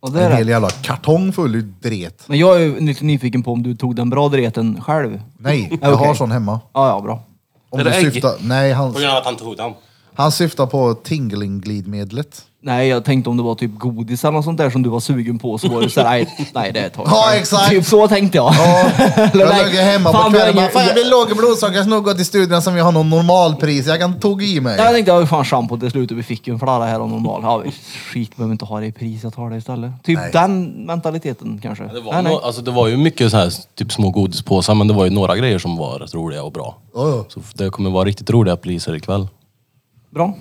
B: Och det är
A: En hel
B: det.
A: jävla kartong full i dret.
B: Men jag är ju lite nyfiken på om du tog den bra dreten själv.
A: Nej, jag
B: Okej.
A: har sån hemma.
B: Ja, ja, bra.
A: Om
C: Är
A: du
C: det ägg?
A: syftar, nej, han,
G: grund av att han tog den.
A: han syftar på tingling-glidmedlet.
B: Nej, jag tänkte om det var typ godis eller något sånt där som du var sugen på så var det såhär, nej, nej det tar jag
A: Ja,
B: själv.
A: exakt.
B: Typ så tänkte jag.
A: Ja,
B: Eller nej,
A: jag ligger hemma på
B: fan, vi har
A: kvällen bara,
B: ingen-
A: fan jag blir låg i blodsocker, jag snor gå till studion som vi har någon normalpris, jag kan tugga i mig.
B: Jag tänkte, ja fan schampo till slut och vi fick ju en flarra här av normal. Ja, vi- skit behöver inte ha det i pris, jag tar det istället. Typ
A: Nej.
B: den mentaliteten kanske.
D: Det var,
B: nej, nej.
D: nå- Alltså, det var ju mycket så här, typ små godispåsar, men det var ju några grejer som var rätt roliga och bra.
A: Oh, Ja,
D: Så det kommer vara riktigt roliga priser ikväll.
B: Bra.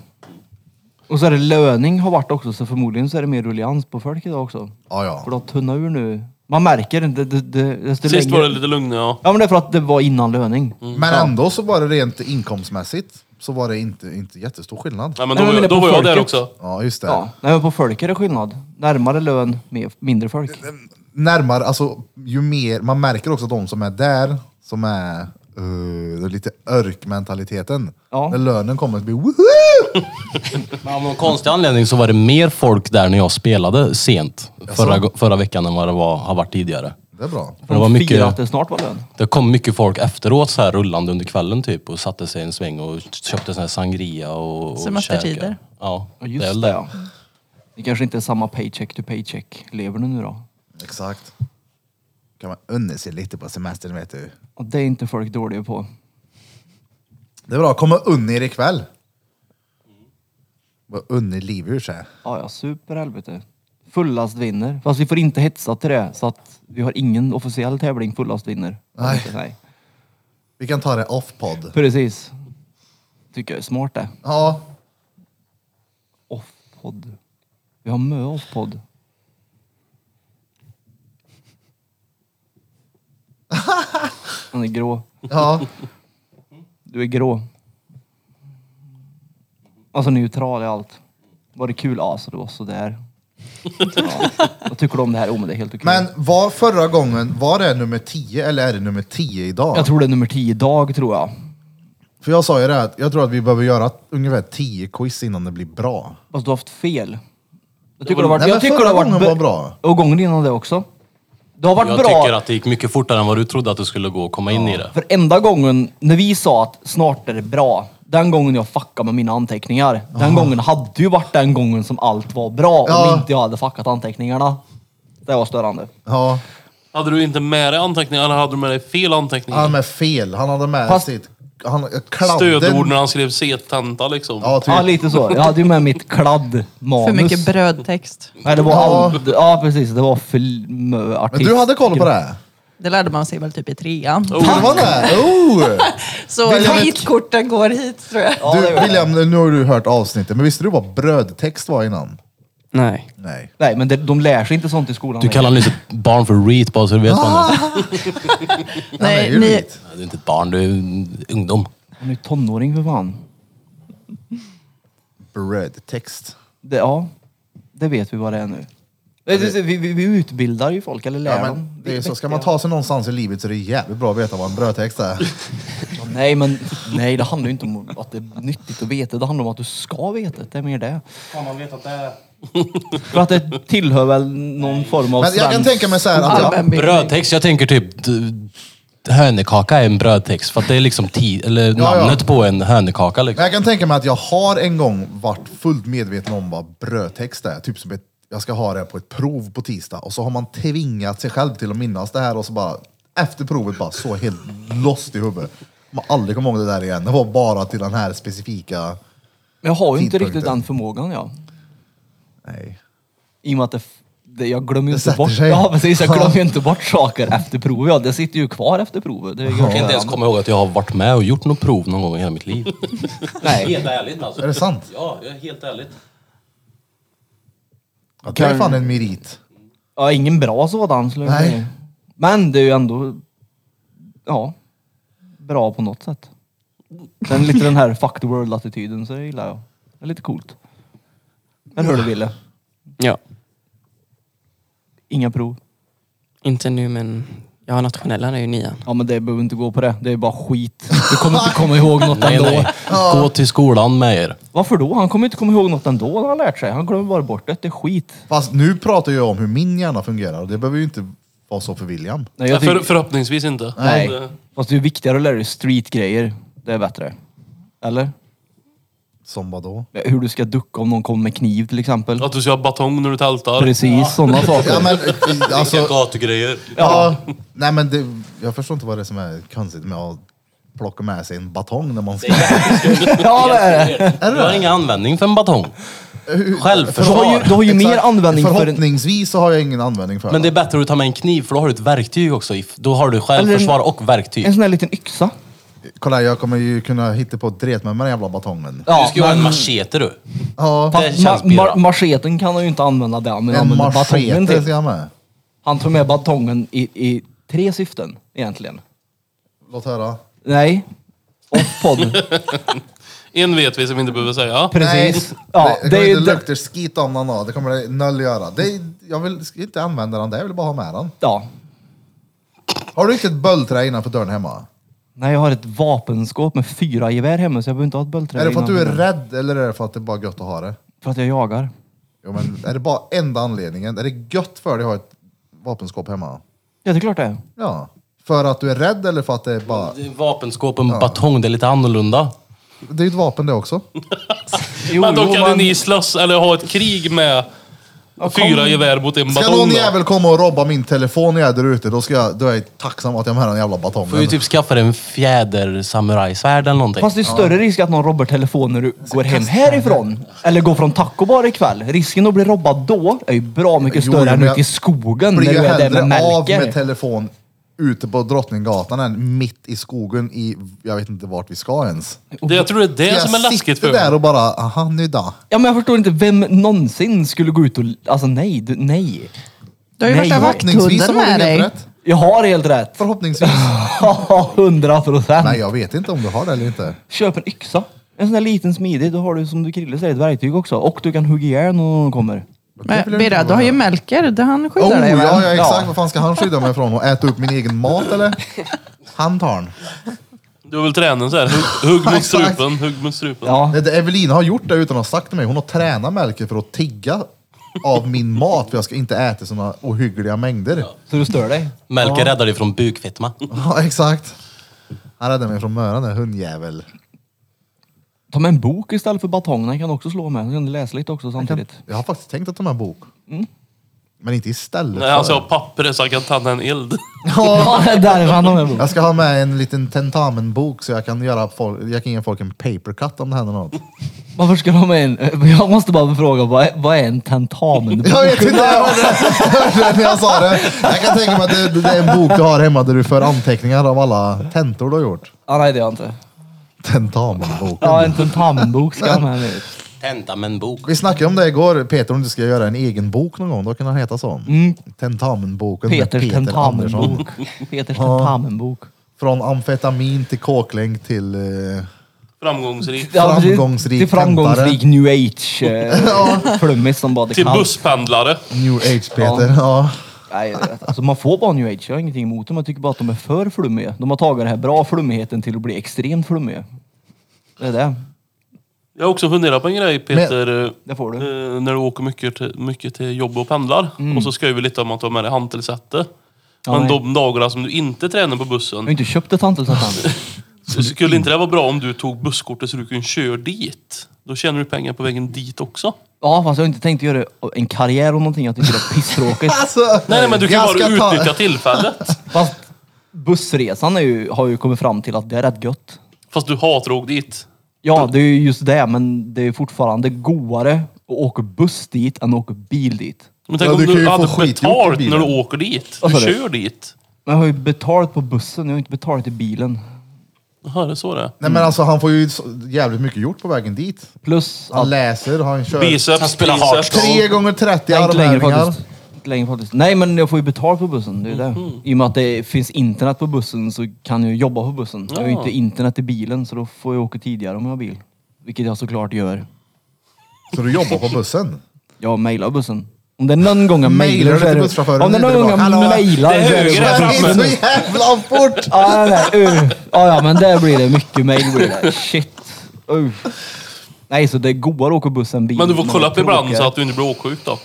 B: Och så är det löning har varit också, så förmodligen så är det mer ruljans på folk idag också.
A: ja.
B: För
A: ja.
B: det har tunnat ur nu. Man märker inte. Det, det, desto
C: Sist
B: längre-
C: var det lite lugn, ja.
B: Ja men det är för att det var innan löning.
A: Men ändå så var det rent inkomstmässigt så var det inte, inte jättestor skillnad.
C: Nej, men
B: Nej,
C: då,
B: men
C: var-
B: det är
C: då
B: på
C: var jag där
B: folket.
C: också.
A: Ja, just det.
B: Ja. Nej men på folk är det skillnad. Närmare lön, mer, mindre folk.
A: Närmare, alltså ju mer, man märker också de som är där, som är eh, lite örkmentaliteten.
B: Ja.
A: När lönen kommer att bli woho!
D: Men av någon konstig anledning så var det mer folk där när jag spelade sent förra, go- förra veckan än vad det var, har varit tidigare.
A: Det är bra.
D: För det, var
B: Fyra att
D: mycket,
B: det snart var lön.
D: det kom mycket folk efteråt så här rullande under kvällen typ och satte sig i en sväng och köpte sån här sangria och, och
E: Semestertider.
D: käkade. Ja,
B: Ja
D: det är
B: just
D: väl
B: det
D: det.
B: ja. Det kanske inte är samma paycheck to paycheck. Lever du nu då?
A: Exakt. Kan man unna sig lite på semestern vet du.
B: Och det är inte folk dåliga på.
A: Det är bra, komma unna er ikväll. Bara unna livet ur sig.
B: Ja ja, superhelvete. Fullast vinner. Fast vi får inte hetsa till det så att vi har ingen officiell tävling fullast vinner. Alltså,
A: Nej.
B: Nej.
A: Vi kan ta det off-podd.
B: Precis. Tycker jag är smart det.
A: Ja,
B: Off-podd. Vi har mö off-podd. Han är grå.
A: ja.
B: Du är grå. Alltså neutral i allt. Var det kul? Ja, så det var sådär. Ja. Vad tycker du om det här? Jo, men det är helt okej.
A: Men var förra gången, var det nummer 10 eller är det nummer 10 idag?
B: Jag tror det är nummer 10 idag, tror jag.
A: För jag sa ju det, att jag tror att vi behöver göra ungefär 10 quiz innan det blir bra.
B: Fast du har haft fel. Jag tycker det har varit...
A: Nej, men
B: Jag tycker
A: förra
B: det har varit...
A: gången
B: bö-
A: var bra.
B: Och gången innan det också. Det har varit
D: Jag
B: bra.
D: tycker att det gick mycket fortare än vad du trodde att det skulle gå att komma in i det.
B: För enda gången när vi sa att snart är det bra, den gången jag fuckade med mina anteckningar, den gången hade ju varit den gången som allt var bra
A: Ja.
B: om inte jag hade fuckat anteckningarna. Det var störande.
A: Ja,
C: Hade du inte med dig anteckningar eller hade du med dig fel anteckningar?
A: han med fel. Han hade med
B: Fast-
A: sitt... Han, kladden.
C: Stödord när han skrev C-tenta liksom.
A: Ja, typ.
B: Ja, lite så. Jag hade ju med mitt kladdmanus.
E: För mycket brödtext.
B: Nej, det var
A: Ja.
B: all... ja, precis. Det var film, artist.
A: Men du hade koll på det? här?
E: Det lärde man sig väl typ i trean.
A: Det var Oh. det? Oh!
E: Så
A: Vill jag-
E: vitkorten går hit tror jag.
A: Du, William, nu har du hört avsnittet, men visste du vad brödtext var innan?
F: Nej.
A: Nej.
B: Nej, men det, de lär sig inte sånt i skolan.
D: Du
B: längre.
D: kallar honom inte ett barn för reet bara så du vet vad han är.
A: Nej,
E: Nej,
A: är ju
E: ni-
A: skit.
D: Nej, Du är inte ett barn, du är en ungdom.
B: Han är ju tonåring för fan.
A: Brödtext.
B: Det, ja, det vet vi vad det är nu. Det- det- Vi, vi, vi utbildar ju folk, eller lär
A: Ja, men
B: dem.
A: det är så, ska man ta sig någonstans i livet så är det jävligt bra att veta vad en brödtext är.
B: Nej, men nej, det handlar ju inte om att det är nyttigt att veta. Det handlar om att du ska veta. Det är mer det.
G: Fan, man vet att det är...
B: För att det tillhör väl någon form av
A: Men jag kan
B: svensk-
A: tänka mig så här att jag,
E: Allmänbildning.
D: Brödtext, jag tänker typ d- hönekaka är en brödtext för att det är liksom ti- eller
A: Ja, ja.
D: namnet på en hönekaka liksom.
A: men jag kan tänka mig att jag har en gång varit fullt medveten om vad brödtext är. Typ som ett, jag ska ha det på ett prov på tisdag och så har man tvingat sig själv till att minnas det här och så bara efter provet bara så helt lost i huvudet. Man aldrig kommer ihåg det där igen. Det var bara till den här specifika...
B: Men jag har ju inte riktigt
A: Tidpunkten.
B: den förmågan, ja.
A: Nej.
B: I och med att det, f- det, jag glömmer ju
A: Det
B: inte
A: sätter
B: bort...
A: sig.
B: Ja, precis. Jag glömmer ju inte bort saker efter provet. Ja, det sitter ju kvar efter provet. Det är
D: Jag kan inte ens komma ihåg att jag har varit med och gjort något prov någon gång i hela mitt liv.
B: Nej.
G: Helt ärligt alltså.
A: Är det sant?
G: Ja, jag är helt ärligt.
A: Ja, det är fan en merit.
B: Ja, ingen bra sådan skulle jag
A: Nej.
B: säga. Men det är ju ändå... Ja. Bra på något sätt. Sen lite den här fuck the world-attityden så det gillar jag. Det är lite coolt. Eller hur du ville?
F: Ja.
B: Inga prov.
F: Inte nu men... Ja, nationella är ju nian.
B: Ja men det behöver inte gå på det. Det är bara skit. Du kommer inte komma ihåg något
D: Nej,
B: ändå.
D: nej. Gå till skolan med er.
B: Varför då? Han kommer inte komma ihåg något ändå när han lärt sig. Han glömmer bara bort det. Det är skit.
A: Fast nu pratar jag om hur min hjärna fungerar och det behöver ju inte vara så för William.
B: Nej,
C: Nej,
B: jag
C: för,
B: tycker,
C: förhoppningsvis inte.
B: nej.
C: Men, eh,
B: Fast det är viktigare att lära dig streetgrejer. Det är bättre. Eller?
A: Som vadå?
B: Hur du ska ducka om någon kommer med kniv till exempel.
C: Att du ska ha batong när du tältar.
B: Precis sådana saker.
A: Ja, men, alltså,
D: gatugrejer.
A: ja, nej, men det, jag förstår inte vad det är som är konstigt med att plocka med sig en batong när man ska...
B: Ja, det är det.
D: Du har ingen användning för en batong.
B: Du har ju,
D: Självförsvar.
B: du har ju mer
A: Exakt.
B: användning för en...
A: Förhoppningsvis så har jag ingen användning för
D: Men det är
A: den.
D: bättre att ta med en kniv för då har du ett verktyg också. i- Då har du självförsvar och
B: En
D: verktyg.
B: sån här liten yxa.
A: Kolla här, jag kommer ju kunna hitta på ett dret med den jävla batongen.
D: Du ska ju ha en
B: men-
D: machete du.
A: Ja,
D: Det känns
B: ma-
D: bra.
B: ma- macheten kan han ju inte använda där, men
A: en
B: han använder batongen typ.
A: machete ska
B: till.
A: jag med.
B: Han tog med batongen i, i tre syften egentligen.
A: Låt höra.
B: Nej. Och podd.
C: En vet vi som vi inte behöver säga.
B: Precis.
A: Nej,
B: Ja,
A: det,
B: det är
A: kommer
B: ju
A: inte
B: det-
A: lukta skit om någon av. Det kommer det noll göra. Det, är- jag vill ska inte använda den där, jag vill bara ha med den.
B: Ja.
A: Har du inte ett böldträ innanför dörren hemma?
B: Nej, jag har ett vapenskåp med fyra gevär hemma så jag behöver inte ha ett böldträ.
A: Är det för att du är
B: innanför.
A: rädd eller är det för att det är bara gött att ha det?
B: För att jag jagar.
A: Jo, men är det bara enda anledningen? Är det gött för dig att ha ett vapenskåp hemma?
B: Ja, det är klart det är.
A: Ja. För att du är rädd eller för att det är bara...
D: Det är Vapenskåp och en batong, det är lite annorlunda.
A: Det är ju ett vapen det också.
B: Jo,
C: men då
B: jo,
C: kan
B: men-
C: ni slåss eller ha ett krig med fyra gevär mot en
A: Ska
C: batong.
A: någon
C: då.
A: jävel komma och robba min telefon när jag är där ute, då, ska jag, då är jag tacksam att jag har med den jävla
D: Får ju
A: batongen.
D: typ skaffa dig en fjäder samurajsvärd eller någonting.
B: Fast det är större risk att någon robbar telefonen när du går hem härifrån. Eller går från taco bar ikväll. Risken att bli robbad då är ju bra mycket
A: Jo,
B: större
A: men
B: än
A: jag
B: ute i skogen när
A: Blir
B: du
A: ju
B: är där
A: hellre
B: med
A: av med
B: märker.
A: telefon ute på Drottninggatan än mitt i skogen i, jag vet inte vart vi ska ens.
C: Det, jag tror det är det
A: jag
C: som är läskigt för
A: sitter där och bara, aha nu då.
B: Ja, men jag förstår inte, vem någonsin skulle gå ut och... Alltså nej, du, nej.
E: Du har ju
B: Nej,
E: värsta
A: Förhoppningsvis så var
E: vakthunden med
A: det helt
E: dig.
A: rätt.
B: Jag har helt rätt.
A: Förhoppningsvis.
B: Hundra procent.
A: Nej, jag vet inte om du har det eller inte.
B: Köp en yxa. En sån där liten smidig. Då har du som du Krille säger ett verktyg också. Och du kan hugga ihjäl någon när de kommer.
A: vill
E: Men
A: jag inte
E: Birra, du
A: vara
E: har ju
A: med.
E: Melker. det- Han skyddar
A: Oh,
E: dig väl?
A: ja, ja, exakt.
B: Ja.
A: Vad fan ska han skydda mig från? Och äta upp min egen mat eller? Han tar den.
C: Du har väl tränat så här. Hugg, hugg mot
A: Exakt.
C: strupen, hugg mot strupen.
B: Ja.
A: Det, det Evelina har gjort det utan att ha sagt till mig. Hon har tränat Melker för att tigga av min mat för jag ska inte äta sådana ohyggliga mängder.
B: Så du stör dig?
D: Melker räddar dig från bukfetma.
A: Ja, exakt. Han räddade mig från möran den hundjävel.
B: Ta med en bok istället för batongerna, kan du också slå med. Så kan du läsa lite också samtidigt.
A: Jag har faktiskt tänkt att ta med en bok. Men inte istället
C: Nej, alltså jag har papper så jag kan tända en eld.
B: Ja, det är därför han har med bok.
A: Jag ska ha med en liten tentamenbok så jag kan, göra folk, jag kan ge folk en papercut om det händer något.
B: Varför ska de ha med en... Jag måste bara fråga, vad är, vad är en tentamen?
A: Jag vet inte, jag hörde det- jag hörde det när jag sa det. Jag kan tänka mig att det, det är en bok du har hemma där du för anteckningar av alla tentor du har gjort.
B: Ja, Ah, nej, det har jag inte.
A: Tentamenboken.
B: Ja, en tentamenbok ska jag ha med mig.
D: Tentamenbok.
A: Vi snackade om det igår, Peter, om du ska göra en egen bok någon gång, då kan den heta så.
C: Mm.
A: Tentamenboken
B: Peters
A: med Peter Andersson.
B: tentamenbok. Peters tentamenbok.
A: Från amfetamin till kåklänk till... eh,
C: Framgångsrik.
B: Ja, precis.
A: Framgångsrik
B: Till framgångsrik new age eh, flummis som bara det
C: Till
B: kan.
C: busspendlare.
A: new age Peter. Ja.
B: Nej, jag vet. alltså man får bara new age, jag har ingenting emot dem. Jag tycker bara att de är för flummiga. De har tagit den här bra flummigheten till att bli extremt flummiga. Det är det.
C: Jag har också funderat på en grej Peter. eh,
B: Det får du.
C: eh, när du åker mycket till, mycket till jobb och pendlar.
A: Mm.
C: Och så skrev vi lite om att du har med dig hantelsätte.
B: Ja,
C: Men
B: nej.
C: de dagarna som du inte tränar på
B: Jag
C: bussen.
B: har inte köpt ett hantelsatt än.
C: Så skulle inte det vara bra om du tog busskortet så du kunde köra dit? Då tjänar du pengar på vägen dit också.
B: Ja, fast jag har inte tänkt göra en karriär av någonting. Jag tycker det är pisstråkigt.
A: Alltså,
C: Nej, nej men du kan
A: jag
C: bara
A: ska ta-
C: utnyttja tillfället.
B: Fast bussresan är ju, har ju kommit fram till att det är rätt gött.
C: Fast du hatar att åka dit.
B: Ja, det är ju just det, men det är ju fortfarande goare att åka buss dit än att åka bil dit.
C: Men tänk
A: Ja,
C: om
A: du
C: du,
A: kan ju få
C: hade
A: skitgjort i
C: betalt när
A: bilen.
C: du åker dit.
B: Vad
C: Du
B: sa du?
C: kör dit.
B: Men jag har ju betalt på bussen, jag har inte betalat i bilen.
C: Jaha, det är så det är.
A: Nej men alltså han får ju så- jävligt mycket gjort på vägen dit.
B: Plus
A: Han
B: att...
A: läser, han kör
C: Biceps,
D: Han spelar
C: triceps.
A: tre gånger 30
B: Nej, inte längre
A: armhävningar.
B: faktiskt. Inte längre faktiskt. Nej, men jag får ju betalt på bussen, det är ju det. I och med att det finns internet på bussen så kan jag ju jobba på bussen. Jag har ju
C: Ja.
B: inte internet i bilen, så då får jag åka tidigare om jag har bil. Vilket jag såklart gör.
A: Så du jobbar på bussen?
B: Jag mejlar bussen. Om det är någon gång jag
A: Mejlar
B: mejlar
A: du
B: så är
A: till
B: det...
A: busschauffören?
B: Om det är någon gång
A: Hallå?
B: jag mejlar
C: Det är
B: så är det...
C: höger
A: Alltså, Det
C: här
A: är
C: framme.
A: så jävla fort!
B: Ja, nej, nej, uh. ja, ja, men där blir det mycket mejl. blir det. Shit. Uh. Nej, så det går att åka bussen bil.
C: Men du får
B: men
C: kolla
B: jag
C: upp ibland
B: tråkigare.
C: så att du inte blir åksjuk då.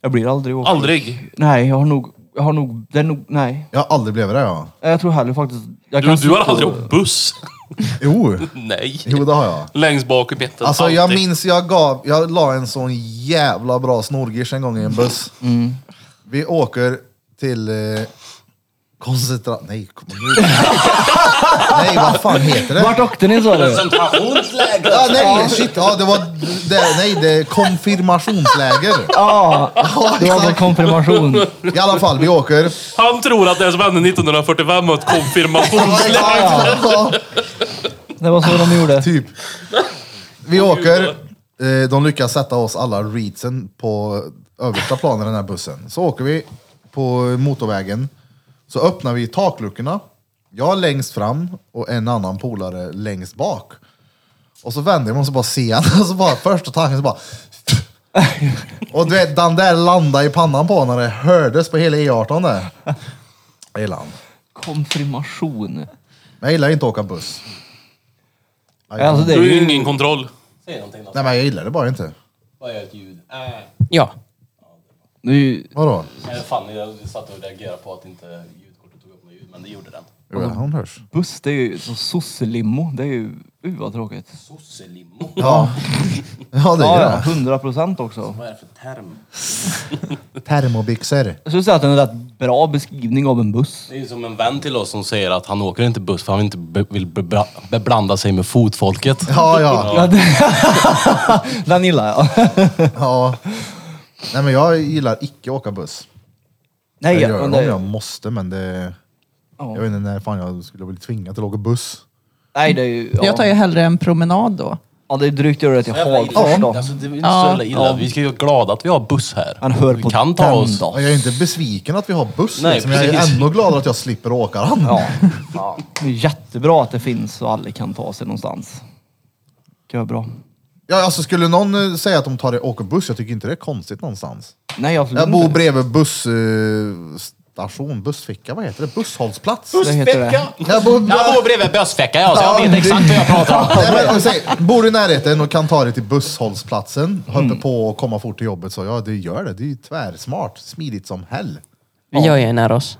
B: Jag blir aldrig åka.
C: Aldrig.
B: Nej, jag har nog... Jag har nog... Det är nog... Nej.
A: Jag har aldrig blivit det ja.
B: Jag tror hellre faktiskt... Jag
C: Du, du har
B: sitta
C: aldrig
B: och-
C: åkt buss.
A: Jo,
C: Nej.
A: jo det har jag.
C: Längst bak i mitten.
A: Alltså jag
C: alltid.
A: minns jag gav, jag la en sån jävla bra snorgish en gång i en buss. Vi åker till eh, koncentra... Nej, kom nu. nej, vad fan heter det?
B: Vart åkte ni sa du?
G: Koncentrationsläger!
A: Ja, nej, shit, ja, det var, det, nej, det är konfirmationsläger.
B: Ja, Ah, det var på konfirmation.
A: I alla fall, vi åker.
C: Han tror att det som hände 1945 var ett konfirmationsläger.
A: Ja,
B: Det var så de gjorde.
A: typ. Vi åker, eh, de lyckas sätta oss alla reedsen på översta planen i den här bussen. Så åker vi på motorvägen, så öppnar vi takluckorna. Jag längst fram och en annan polare längst bak. Och så vänder jag mig och så bara ser jag och så bara första tanken så bara... och du vet, den där landade i pannan på när det hördes på hela E18 där. Jag gillar han.
B: Konfirmation.
A: Men jag gillar inte att åka buss.
B: Alltså det är
C: Du har ju
B: ju...
C: ingen kontroll.
G: Säg någonting då.
A: Nej men jag gillar det bara inte.
G: Bara gör ett ljud. Äh.
F: Ja.
B: det är ju-
A: Vadå?
G: Nej, Fan, jag satt och reagerade på att inte ljudkortet tog upp något ljud, men det gjorde den.
A: Jo, hon hörs.
B: Buss, det är ju som sosselimmo. Det är ju... Uh, vad tråkigt.
G: Sosselimmo?
A: Ja. Ja det
B: Ja, ja.
A: är
B: 100 procent också.
G: Vad är det för term?
A: det. Termobyxor.
B: Jag skulle säga att det är en rätt bra beskrivning av en buss.
D: Det är ju som en vän till oss som säger att han åker inte buss för han inte be- vill bebra- beblanda sig med fotfolket.
A: Ja, ja.
B: Ja. Den gillar jag.
A: ja. Nej men jag gillar icke åka buss.
B: Nej,
A: Jag gör
B: men
A: det om
B: det,
A: jag måste men det...
B: Ja.
A: Jag vet inte när fan jag skulle bli tvingad till att åka buss.
B: nej, det är ju...
E: Jag tar ju
B: Ja,
E: hellre en promenad då.
B: ja det är drygt att göra det till Hagfors då.
D: Alltså, det är inte
E: Ja.
D: så jävla illa. Vi ska ju vara glada att vi har buss här.
B: Han hör
D: vi
B: på
D: kan ta
B: den
D: oss.
B: då.
A: Ja, jag är inte besviken att vi har buss
D: Nej,
A: liksom. Jag är
D: precis.
A: ändå glad att jag slipper åka den.
B: Ja. Det är jättebra att det finns och alla kan ta sig någonstans. Det är bra.
A: Ja, alltså, skulle någon eh, säga att de tar det, åker buss, jag tycker inte det är konstigt någonstans.
B: Mm. Nej, absolut
A: Jag bor
B: inte.
A: bredvid bussstation busstation, bussficka, vad heter det? Busshållplats?
B: Det heter det.
A: Jag bor,
D: Jag bor bredvid bösfäcka jag, så jag vet exakt vad jag pratar om.
A: Nej, men, och säg, bor du i närheten och kan ta dig till busshållplatsen, höll
B: Mm.
A: på att komma fort till jobbet, så ja, det gör det. Det är ju tvärsmart, smidigt som hell.
F: Jag är nära oss.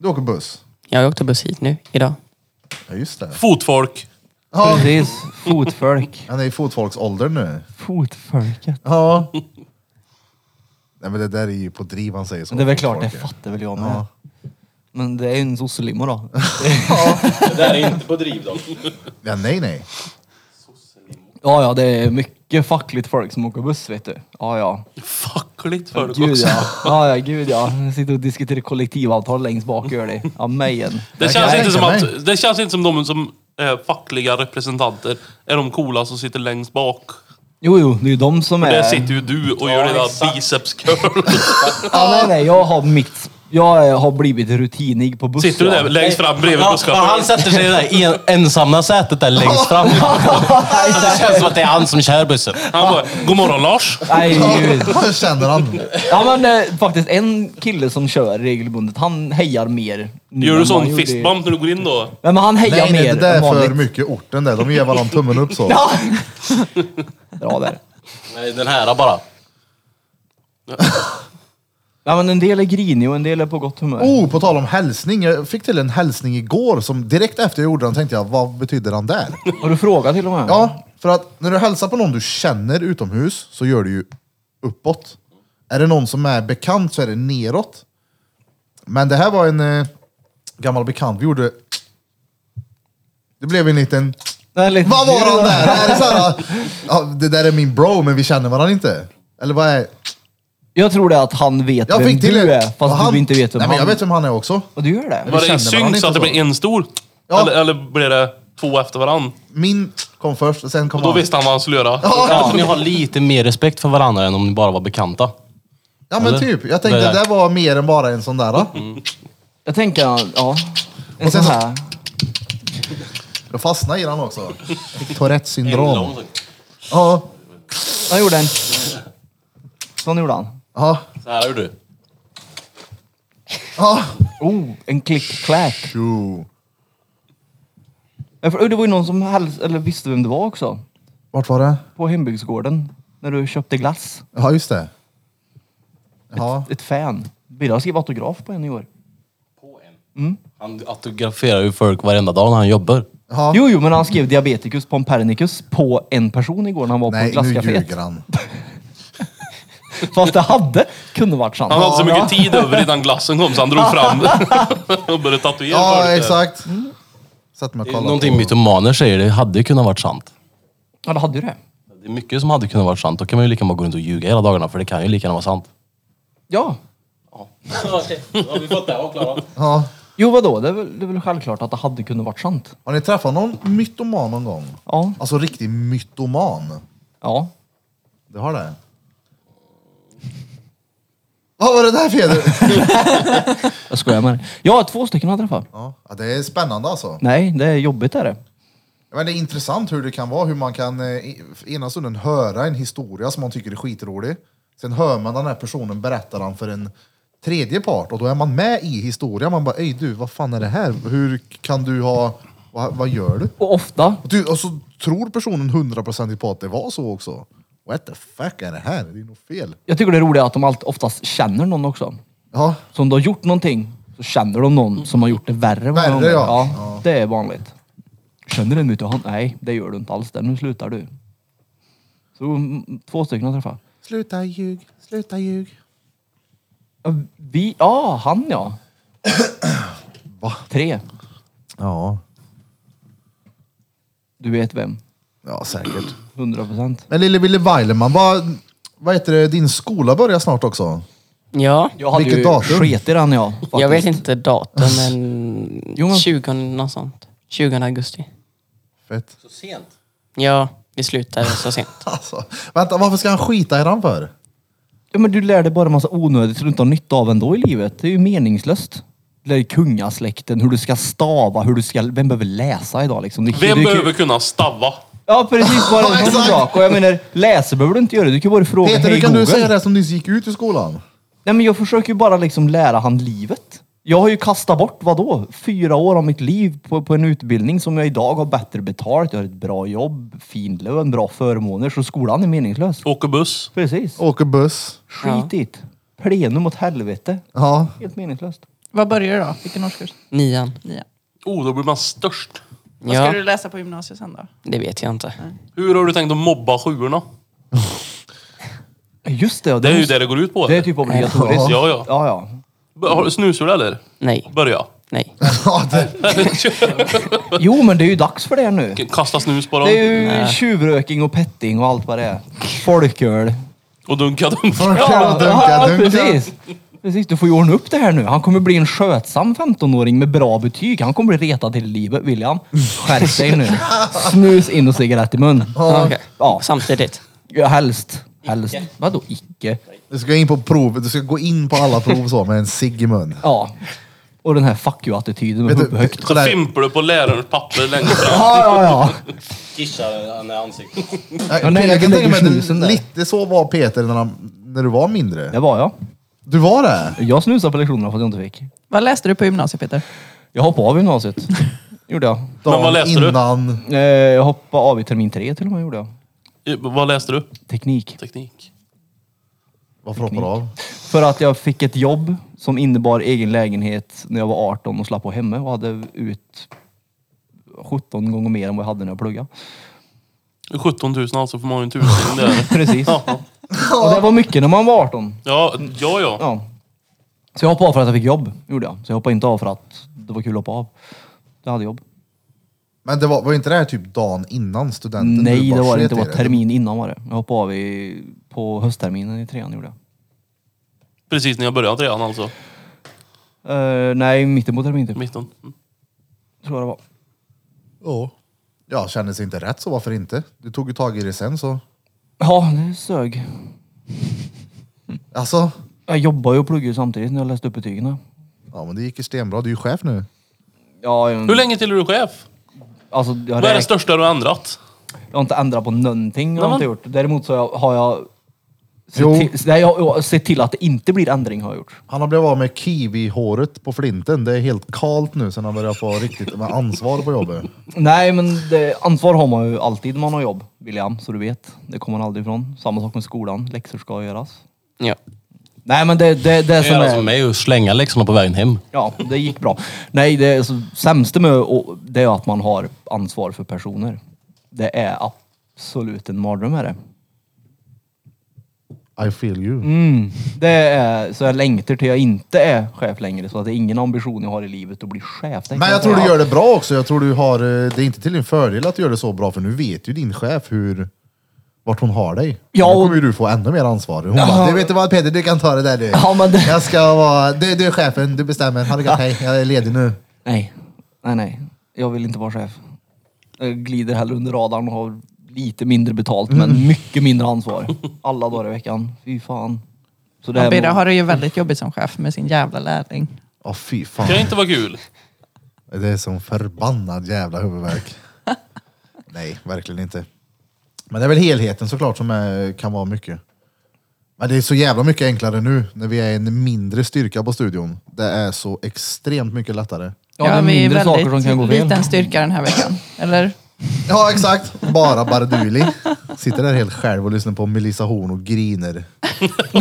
A: Du åker buss?
F: Jag åkte buss hit nu, idag.
A: Ja, just det.
C: Fotfolk.
A: Ja,
B: Precis. Fotfolk.
A: han är i fotfolksåldern nu.
B: Fotfolket.
A: Ja. Nej, men det där är ju på driv han säger så.
B: Men det är väl klart, det
A: Fotfolk, ja.
B: fattar väl jag med.
A: Ja.
B: Men det är ju en sosselimma då.
G: Det där är inte på driv dock.
A: Ja, nej, nej.
B: Ja, ja, det är mycket fackligt folk som åker buss vet du. Ja, ja.
C: Fackligt folk
B: Gud
C: också.
B: ja. Ja, ja, gud ja. Jag sitter och diskuterar kollektivavtal längst bak gör det. Ja, mig igen.
C: Det
A: kan
C: känns,
A: jag
C: inte som
A: tänka
C: att, det känns inte som de som är fackliga representanter är de coola som sitter längst bak.
B: Jo, jo, det är ju de som är...
C: Där sitter ju du och gör dina biceps curl.
B: Ja, nej, nej, jag har mitt... Jag eh, har blivit rutinig på bussen.
C: Sitter du där längst fram bredvid
D: Ja, men han
C: busschauffören?
D: sätter sig i det där en, ensamma sätet där längst fram. Det känns som att det är han som kör bussen.
C: Han bara, God morgon Lars.
B: Nej, gud.
A: Vad känner han?
B: Ja, men eh, faktiskt en kille som kör regelbundet, han hejar mer. nu
C: Gör
B: än
C: du
B: han
C: sån
B: gjorde i-
C: fistbump när du går in då?
B: Nej, men han hejar
A: Nej, nej,
B: mer
A: det där
B: än
A: är för
B: vanligt.
A: mycket orten där. De ger varandra tummen upp så.
B: Ja. Bra där.
D: Nej, den här bara.
B: Ja, men en del är grinig och en del är på gott humör.
A: Oh, på tal om hälsning. Jag fick till en hälsning igår som direkt efter jag gjorde den tänkte jag, vad betyder den där?
B: Har du frågat till och med?
A: Ja, för att när du hälsar på någon du känner utomhus så gör du ju uppåt. Är det någon som är bekant så är det neråt. Men det här var en eh, gammal bekant. Vi gjorde... Det blev en liten...
B: Nej, lite-
A: Vad var han där? Är det, så här, ja, det där är min bro, men vi känner varandra inte. Eller vad är...
B: Jag tror det är att han vet
A: Jag
B: vem
A: fick till
B: du
A: en-
B: är, fast
A: han-
B: du inte vet vem
A: Nej,
B: han
A: men jag vet vem han är också.
B: Och du gör det?
A: vi
C: Var det i
A: kände
C: synk
A: varandra
C: så att
A: inte
C: det
A: så.
C: blir en stor?
A: Ja.
C: Eller, eller blir det två efter varann?
A: Min kom först och sen kom
C: Då
A: han.
C: visste han vad han skulle göra.
D: Ja, ni har lite mer respekt för varandra än om ni bara var bekanta.
A: Ja men
D: Eller?
A: typ. Jag tänkte
D: Det
A: det
D: där.
A: där var mer än bara en sån där. då.
B: Jag tänker, ja. En
A: Och sen
B: sån
A: så-
B: här.
A: Jag fastnade i den också. Tourettes
G: En
A: syndrom.
G: lång sån.
A: Ja.
B: Han gjorde en... Sån gjorde han.
A: Ja.
G: Så här gör du.
A: Ja.
B: Oh, en klick-klack.
A: Jo.
B: Ja, för- Det var ju någon som häls- eller visste vem det var också.
A: Vart var det?
B: På hembygdsgården. När du köpte glass.
A: Ja just det. Ja.
B: Ett fan. Birra skrev autograf på en i år.
A: Mm.
D: Han autograferar ju folk varenda dag när han jobbar.
A: ja.
B: Jo, jo, men han skrev diabeticus pompernicus på en person igår när han var på
A: Nej nu
B: glasscaféet.
A: ljuger han.
B: Fast det hade kunnat varit sant.
C: Han hade så mycket tid över innan glassen kom så han drog fram det och började tatuera
A: Ja
C: folk.
A: exakt. Sätt mig och
D: Det är
A: kolla
D: Någonting
A: på-
D: mytomaner säger, det hade ju kunnat varit sant.
B: Ja, det hade ju det.
D: Det är mycket som hade kunnat varit sant. Då kan man ju lika gärna gå runt och ljuga hela dagarna, för det kan ju lika gärna vara sant.
B: Ja.
G: Okej, då har vi fått det avklarat.
A: Ja.
B: Jo, vadå? Det är, väl, det är väl självklart att det hade kunnat varit sant.
A: Har ni träffat någon mytoman någon gång?
B: Ja.
A: Alltså riktig mytoman.
B: Ja.
A: Det har det. Vad var det där Peder?
B: Jag skojar med dig. Ja, två stycken har jag träffat.
A: Ja, Ja, det är spännande alltså.
B: Nej, det är jobbigt är det.
A: Ja, Men det är intressant hur det kan vara, hur man kan eh, i- ena stunden höra en historia som man tycker är skitrolig. Sen hör man den här personen berätta den för en tredje part och då är man med i historien. Man bara, ej du, vad fan är det här? Hur kan du ha, vad, vad gör du?
B: Och ofta,
A: Och, du, och så tror personen hundraprocentigt på att det var så också. What the fuck är det här? Det är nog fel.
B: jag tycker det roliga är att de allt oftast känner någon också.
A: Ja,
B: Så om du har gjort någonting så känner de någon som har gjort det värre. än vad de
A: Värre,
B: har.
A: ja.
B: ja.
A: Ja.
B: Det är vanligt. Känner du en utav han? Nej, det gör du inte alls. Där. Nu slutar du. Så mm, två stycken har jag träffat.
A: sluta ljug, sluta ljug.
B: Ja, Vi, ja, han ja.
A: Va?
B: Tre.
A: Ja,
B: Du vet vem.
A: ja säkert.
B: 100 procent.
A: Men lille Wille Weileman, vad, vad heter det, din skola börjar snart också?
F: Ja,
B: Jag hade
A: Vilket
B: ju
A: datum?
B: sket i den jag. Faktiskt.
F: jag vet inte datum men,
B: Jo, men-
F: 20 något sånt. 20 augusti.
A: Fett.
G: Så sent.
F: Ja, vi slutade så sent.
A: Alltså, vänta, varför ska han skita i den för?
B: Ja, men du lär dig bara massa onödigt som du inte har nytta av ändå i livet. Det är ju meningslöst. Du lär dig kungasläkten, hur du ska stava, hur du ska... Vem behöver läsa idag liksom? Du,
C: Vem
B: du,
C: behöver kunna stava?
B: Ja precis, bara
A: Ja,
B: en sån
A: exakt.
B: sak. Och jag menar, läsa behöver du inte göra. Du kan ju bara fråga
A: Peter,
B: hej
A: hur kan
B: Google.
A: du säga det som nyss gick ut ur skolan?
B: Nej men jag försöker ju bara liksom lära han livet. Jag har ju kastat bort, vadå, fyra år av mitt liv på, på en utbildning som jag idag har bättre betalt, jag har ett bra jobb, fin lön, bra förmåner, så skolan är meningslös.
C: Åker buss.
B: Precis.
A: Åker buss.
F: Ja.
B: Skit i det. Plenum åt helvete.
A: Ja.
B: Helt meningslöst.
E: Vad börjar du då? Vilken årskurs?
F: Nian.
E: Nian.
C: Oh, då blir man störst.
E: Vad
F: Ja.
E: ska du läsa på gymnasiet sen då?
F: Det vet jag inte.
C: Hur har du tänkt att mobba sjuorna?
B: Just det, ja,
C: Det är ju
B: måste-
C: det det går ut på.
B: Det är typ obligatoriskt.
C: Ja, ja.
B: ja, ja.
C: B- har- Snusar du eller?
F: Nej,
C: Börja.
F: nej.
A: ja det,
B: Jo men det är ju dags för det nu.
C: Kasta snus på dem.
B: Det är ju tjuvröking och petting och allt vad det är. Folköl.
C: Och dunka
A: Ja,
C: dunka.
A: dunka, dunka.
B: precis. Precis, du får ju ordna upp det här nu. Han kommer bli en skötsam 15-åring med bra betyg. Han kommer bli retad till livet, William. Skärp dig nu. Snus in och cigarett i mun.
F: Ja, okej.
B: Ja,
F: Samtidigt.
B: ja helst. Helst. Vadå icke?
A: du ska in på prov, du ska gå in på alla prov så med en cigg i mun.
B: Ja. Och den här fuck you-attityden med
A: Vet du-
B: uppe högt.
C: Så fimpar du på lärarens papper längre fram.
B: Ja, ja, ja.
G: Kissar han i ansiktet.
A: Jag,
B: Ja, nej,
A: jag
B: du
A: kan tänka mig
B: lägger
A: att det,
B: snusen där.
A: lite så var Peter när, han, när du var mindre.
B: Det var jag.
A: Du var det?
B: Jag snusade på lektionerna för att jag inte fick.
E: Vad läste du på gymnasiet Peter?
B: Jag hoppade av gymnasiet. gjorde jag.
A: Dagen
C: vad läste du?
A: innan. du?
B: Eh, Jag hoppade av i termin tre till och med gjorde jag.
C: I- Vad läste du?
B: Teknik.
C: Teknik.
A: Varför hoppar du av?
B: För att jag fick ett jobb som innebar egen lägenhet när jag var 18 och slapp vara hemma och hade ut 17 gånger mer än vad jag hade när jag pluggade.
C: 17 000 alltså får man ju en tusing där.
B: Precis.
C: Ja,
B: Och det var mycket när man var 18.
C: ja, ja. ja.
B: Ja. Så jag hoppade av för att jag fick jobb, gjorde jag. Så jag hoppade inte av för att det var kul att hoppa av. Jag hade jobb.
A: Men det var, var inte det här typ dagen innan studenten?
B: Nej,
A: Du bara
B: det var det
A: sket
B: inte. Det
A: i
B: var termin innan var det. Jag hoppade av i, på höstterminen i trean gjorde jag.
C: Precis när jag började trean alltså.
B: Eh, nej, mitten på terminen typ.
C: Mitten. Mm.
B: Tror jag det var.
A: Ja. Ja, kändes inte rätt så varför inte? Du tog ju tag i det sen så.
B: Ja, det sög.
A: Alltså,
B: Jag jobbade ju och pluggade ju samtidigt när jag läste upp betygen.
A: ja men det gick ju stenbra. Du är ju chef nu.
B: Ja, jag,
C: Hur länge till är du chef?
B: Alltså, jag,
C: Vad är det
B: räk,
C: största du har ändrat?
B: jag har inte ändrat på någonting. Jag har
C: Nej,
B: inte
C: men-
B: gjort. Däremot så har jag- har jag
A: Jo.
B: sett till, nej, jag, jag har sett till att det inte blir ändring har jag gjort.
A: Han har blivit av med kiwi-håret på flinten. Det är helt kalt nu sen han börjar få riktigt med ansvar på jobbet.
B: Nej, men det, ansvar har man ju alltid när man har jobb, William, så du vet. Det kommer man aldrig ifrån. Samma sak med skolan. Läxor ska göras.
F: Ja.
B: Nej, men det, det, det
D: Det
B: som
D: är alltså
B: är...
D: mig och slänga läxorna på vägen hem.
B: Ja, det gick bra. Nej, det är så, sämsta med och, det är att man har ansvar för personer. Det är absolut en mardröm är det.
A: I feel you.
B: Mm. Det är, så jag längtar till jag inte är chef längre. Så att det är ingen ambition jag har i livet att bli chef. Det kan
A: Men jag tror
B: säga.
A: du gör det bra också. Jag tror du har, eh, det är inte till din fördel att du gör det så bra, för nu vet ju din chef hur, vart hon har dig.
B: Ja,
A: Ja, nu
B: och-
A: kommer ju du få ännu mer ansvar. Hon bara, du vet du vad Peter, du kan ta det där du.
B: Ja, men det-
A: Jag ska vara, du, du är chefen, du bestämmer. Ha det gott, hej, jag är ledig nu.
B: Nej, nej, nej. Jag vill inte vara chef. Jag glider hellre under radarn och har lite mindre betalt men mycket mindre ansvar. Alla dagar i veckan. Fy fan. Så det är
E: Ja, Birra
B: nog-
E: har det ju väldigt jobbigt som chef med sin jävla lärling.
A: Ja, fy fan.
C: Kan inte vara kul?
A: Det är som förbannad jävla huvudvärk. Nej, verkligen inte. Men det är väl helheten såklart som är, kan vara mycket. Men det är så jävla mycket enklare nu när vi är en mindre styrka på studion. Det är så extremt mycket lättare.
B: Ja, det är
E: vi
B: mindre saker som
E: väldigt
B: kan gå fel.
E: liten styrka den här veckan. Eller?
A: Ja, exakt. Bara Barduli. Sitter där helt själv och lyssnar på Melissa Horn och griner.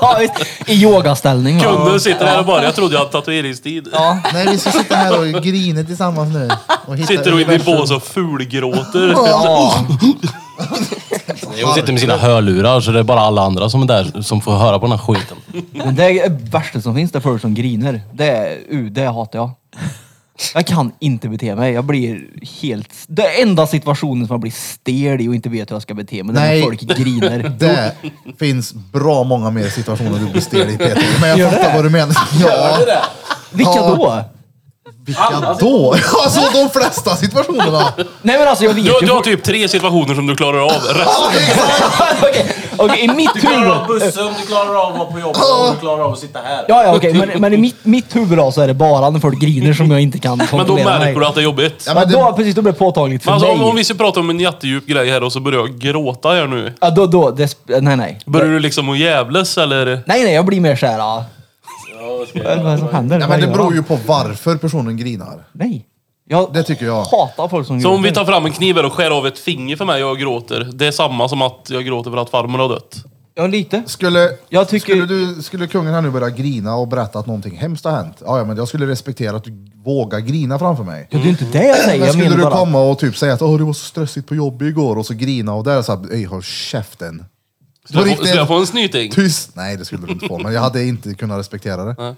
B: Ja, visst. I yogaställning. va?
C: Kunden sitter här och bara, jag trodde jag hade tatueringstid.
B: Ja.
A: Ah, Nej, vi ska sitta här och grina tillsammans nu. Och hitta
C: Sitter och inne i
A: universum.
C: bås och fulgråter.
B: Ja.
D: Hon sitter med sina hörlurar så det är bara alla andra som är där som får höra på den här skiten.
B: Men det är det värsta som finns, det är folk som griner. Det, är, uh, det hatar jag. Jag kan inte bete mig. Jag blir helt... Det enda situationen som jag blir stel i och inte vet hur jag ska bete mig, det är
A: Nej.
B: när folk griner.
A: Det finns bra många mer situationer du blir stel i Peter. Men jag fattar vad du menar. Ja,
B: Vilka
A: Ja.
B: då?
A: Vilka då? Alltså de flesta situationerna.
B: Nej men alltså jag vet
C: Du,
B: ju...
C: du har typ tre situationer som du klarar av. Resten
B: Okej, okej, i mitt
G: Du klarar av
B: huvud...
G: bussen, du klarar av att vara på jobbet och du klarar av att sitta här.
B: Ja, ja, okej, men, men i mitt, mitt huvud då så är det bara när folk griner som jag inte kan
C: men då
B: kontrollera
C: märker du att det är jobbigt.
B: Ja, men då, precis, då blir det påtagligt för
C: Men alltså,
B: mig.
C: om, om vi ska prata om en jättedjup grej här och så börjar jag gråta här nu.
B: Ja, då, då, det, sp- nej, nej.
C: Börjar du liksom att jävlas eller?
B: Nej, nej, jag blir mer såhär... Ja. Vad är det som händer?
A: Nej,
B: Vad
A: men det
B: gör
A: beror
B: han?
A: ju på varför personen grinar.
B: Nej. Jag
A: Det tycker jag.
B: hatar folk som
C: Så om vi
B: gråter.
C: tar fram en kniv här och skär av ett finger för mig och jag gråter. Det är samma som att jag gråter för att farmor har dött.
B: Ja, lite.
A: Mm. Skulle,
B: Jag tycker-
A: skulle, du, skulle kungen här nu börja grina och berätta att någonting hemskt har hänt? Ja, ja, men jag skulle respektera att du vågar grina framför mig.
B: Ja, det är inte det jag säger.
A: Men
B: Jag
A: skulle
B: menar
A: du
B: bara...
A: komma och typ säga att Åh, det var så stressigt på jobbet igår och så grina och där så här, "Ey, håll käften.
C: Ska
A: På
C: jag få,
A: riktigt.
C: ska jag få en snyting?
A: Tyst! Nej, det skulle du inte få, men jag hade inte kunnat respektera det.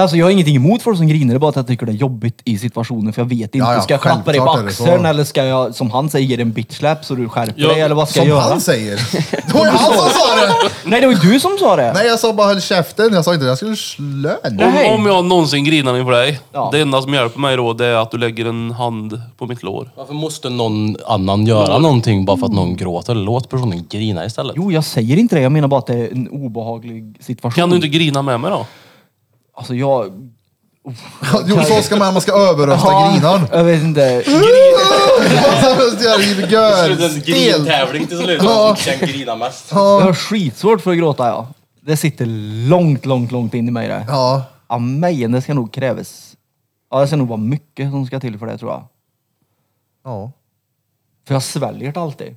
B: Alltså, jag har ingenting emot folk som griner, det är bara att jag tycker det är jobbigt i situationen. För jag vet inte,
A: Ja, ja,
B: ska jag klappa dig på
A: självklart är det så.
B: axeln eller ska jag, som han säger, ge dig en bitchlap så du skärper
C: Ja,
B: dig? Eller vad ska
A: Som
B: jag göra?
A: han säger! Det var ju han som sa det!
B: Nej, det var ju du som sa det!
A: Nej, jag sa bara håll käften, jag sa inte det. Jag skulle slå en.
B: Nej.
C: Om, om jag någonsin grinar inför dig,
B: Ja.
C: det enda som hjälper mig då det är att du lägger en hand på mitt lår.
D: Varför måste någon annan göra någonting bara för att någon gråter? Låt personen grina istället.
B: Jo, jag säger inte det. Jag menar bara att det är en obehaglig situation.
C: Kan du inte grina med mig då?
B: Alltså, jag...
A: Jo, så ska man, man ska överrösta grinaren.
B: Jag vet inte.
G: Det är en
A: Gör
G: grintävling till slut. Vem som kan grina mest.
B: Jag har skitsvårt för att gråta, ja. Det sitter långt, långt, långt in i mig det.
A: Ja,
B: Ja, men det ska nog krävas. Ja, det ska nog vara mycket som ska till för det tror jag.
A: ja.
B: För jag sväljer det alltid.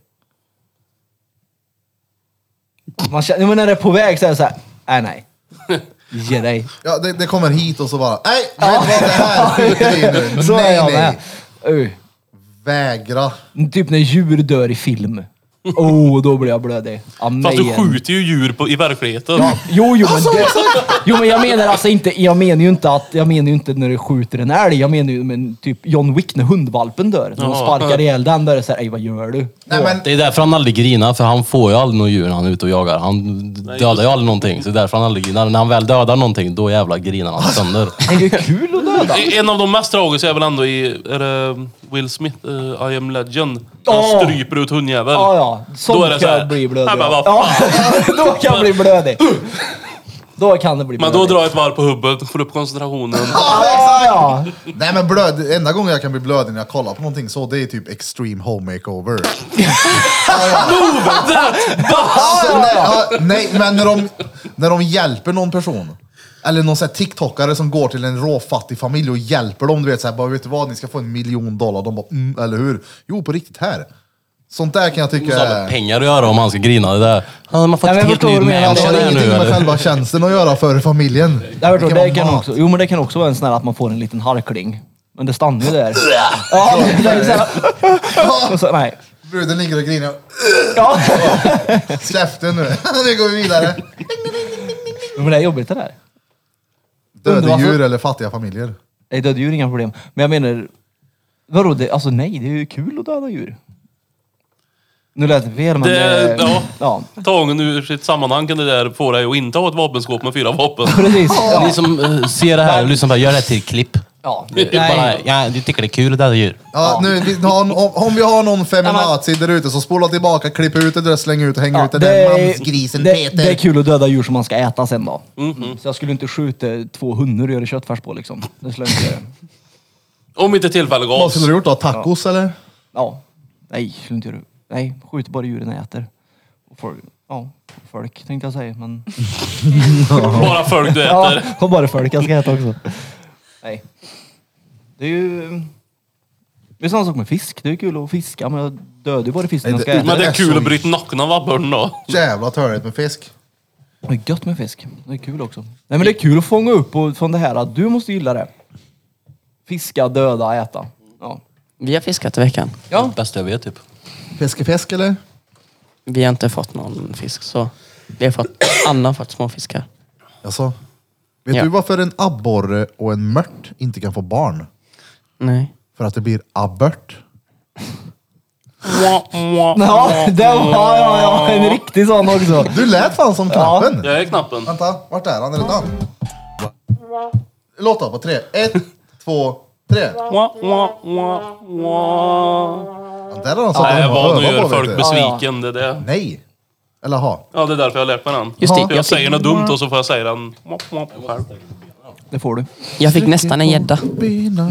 B: Man känner, men när det är på väg så är det såhär, nej nej. Ge dig.
A: ja det, det kommer hit och så bara, nej, vet du vad, det här skjuter vi i nu.
B: Så är
A: Nej,
B: jag
A: nej.
B: med. Uh,
A: Vägra.
B: typ när djur dör i film. Oh, då blir jag blödig. Ja,
C: Fast du
B: men.
C: skjuter Alltså! ju djur på, i verkligheten.
B: Jo, jo, men, det, jo, men jag menar alltså inte, jag menar ju inte att, jag menar ju inte när du skjuter en älg. Jag menar ju men typ John Wick när hundvalpen dör. När de
C: Ja.
B: sparkar ihjäl den, då är det såhär, ej vad gör du?
A: Nej, men,
D: Det är därför han aldrig grinar, för han får ju aldrig något djur när han är ute och jagar. Han dödar ju aldrig någonting, så det är därför han aldrig grinar. När han väl dödar någonting, då jävlar grinar han
A: Alltså.
D: sönder.
B: Men det är ju kul att döda.
C: En av de mest tragiska är väl ändå i är det Will Smith, eh, I am legend. Han
B: Ja.
C: stryper ut hundjävel.
B: Ja, ja.
C: Då är
B: Sånt
C: det
B: kan
C: så här,
B: jag bli blödig
C: nej, men
B: av.
C: vad Uh!
B: Ja, då kan jag bli blödig. Då kan det bli
C: Men
B: blödig.
C: då drar jag ett varv på hubben, får upp koncentrationen.
B: Ja, ja.
A: nej men blöd, enda gången jag kan bli blödig när jag kollar på någonting så, det är typ extreme home makeover. Alltså, nej, ja, nej, men när de, när de hjälper någon person. Eller någon sån här tiktokare som går till en råfattig familj och hjälper dem. Du vet såhär, bara vet du vad, ni ska få en miljon dollar. De bara, mm, eller hur? Jo, på riktigt här. Sånt där kan jag
D: Det
A: tycka
D: har med
A: är...
D: pengar att göra om han ska grina. Det där. Han har man fått
B: Nej, men jag
D: ett helt
B: förstår
D: ny
B: vad du menar.
A: Det
D: mansion
A: har
D: här
A: ingenting
D: nu.
A: med
D: Eller?
A: själva tjänsten att göra för familjen.
B: Det, här, det,
A: vara
B: kan
A: mat.
B: också, jo, men det kan också vara en sån här att man får en liten harkling. Men det stannar ju där. Ja, det är så här. Och så, nej.
A: Bruden ligger och grinar.
B: Ja.
A: Släppte nu. nu går vi vidare.
B: Men det är jobbigt det där.
A: Döda
B: Underbar-
A: djur eller fattiga familjer.
B: Nej, döda djur är inga problem. Men jag menar, vadå, det, alltså nej, det är ju kul att döda djur. Nu lät det fel, men...
C: Det-
B: eh,
C: ja.
B: ja.
C: Tagen ur sitt sammanhang kan det där få dig att inte ha ett vapenskåp med fyra vapen.
B: Precis.
D: Ni som eh, ser det här och lyssnar på det, här, gör det här till klipp.
B: Ja.
D: Det är Bara,
B: Nej.
D: ja, du tycker det är kul att döda djur.
A: Ja, nu, vi, har en- om, om vi har någon feminazi där ute så spola tillbaka, klipp ut det där, släng ut och häng
B: Ja,
A: ut det där
B: är-
A: mansgrisen
B: det,
A: Peter. Mhm.
B: Det är kul att döda djur som man ska äta sen då. Mm. Så jag skulle inte skjuta två hundar och göra köttfärs på liksom. Det skulle jag inte göra.
C: Om inte tillfälle
A: Vad
C: gavs.
A: skulle du gjort då? Tacos eller?
B: Ja. Nej, skulle inte göra. Nej, skjut bara djuren jag äter. Och folk, ja, folk tänkte jag säga, men...
C: Bara folk du
B: Ja,
C: äter.
B: och bara folk jag ska äta också. Nej. Det är ju... Det är samma sak med fisk. Det är kul att fiska, men jag dödar ju bara fisken
A: Nej,
B: jag ska
A: det-
B: äta.
C: Men det
A: Det
C: är
A: är
C: kul
A: så-
C: att bryta nacken av abborren då.
A: Jävla törligt med fisk.
B: Det är gött med fisk. Det är kul också. Nej men det är kul att fånga upp och från det här att du måste gilla det. Fiska, döda, äta. Ja.
F: Vi har fiskat i veckan.
D: Ja. Det bästa jag vet typ.
A: Fiskefisk eller?
F: Vi har inte fått någon fisk så. Vi har fått, Anna har fått småfiskar.
A: Jaså? Vet
F: Ja.
A: du varför en abborre och en mört inte kan få barn?
F: Nej.
A: För att det blir abbört.
B: Ja, det var ja, ja, en riktig sån också.
A: Du lät fan som knappen.
C: Jag är knappen.
A: Vänta, vart är han? Är det Dan? Låt då, på tre. Ett, två, tre.
C: Wah, wah, wah, wah.
A: Ja, där har de satt
C: Nej,
A: en
C: vad nu
A: öva
C: gör
A: på, vet
C: folk
A: du.
C: besviken. Det är det.
A: Nej. Eller ha.
C: Ja, det är därför jag har lärt mig den.
F: Just det,
C: För jag
F: jag
C: säger
F: fick-
C: något dumt och så får jag säga den mop, mop, själv.
B: Det får du.
F: Jag fick nästan en gädda.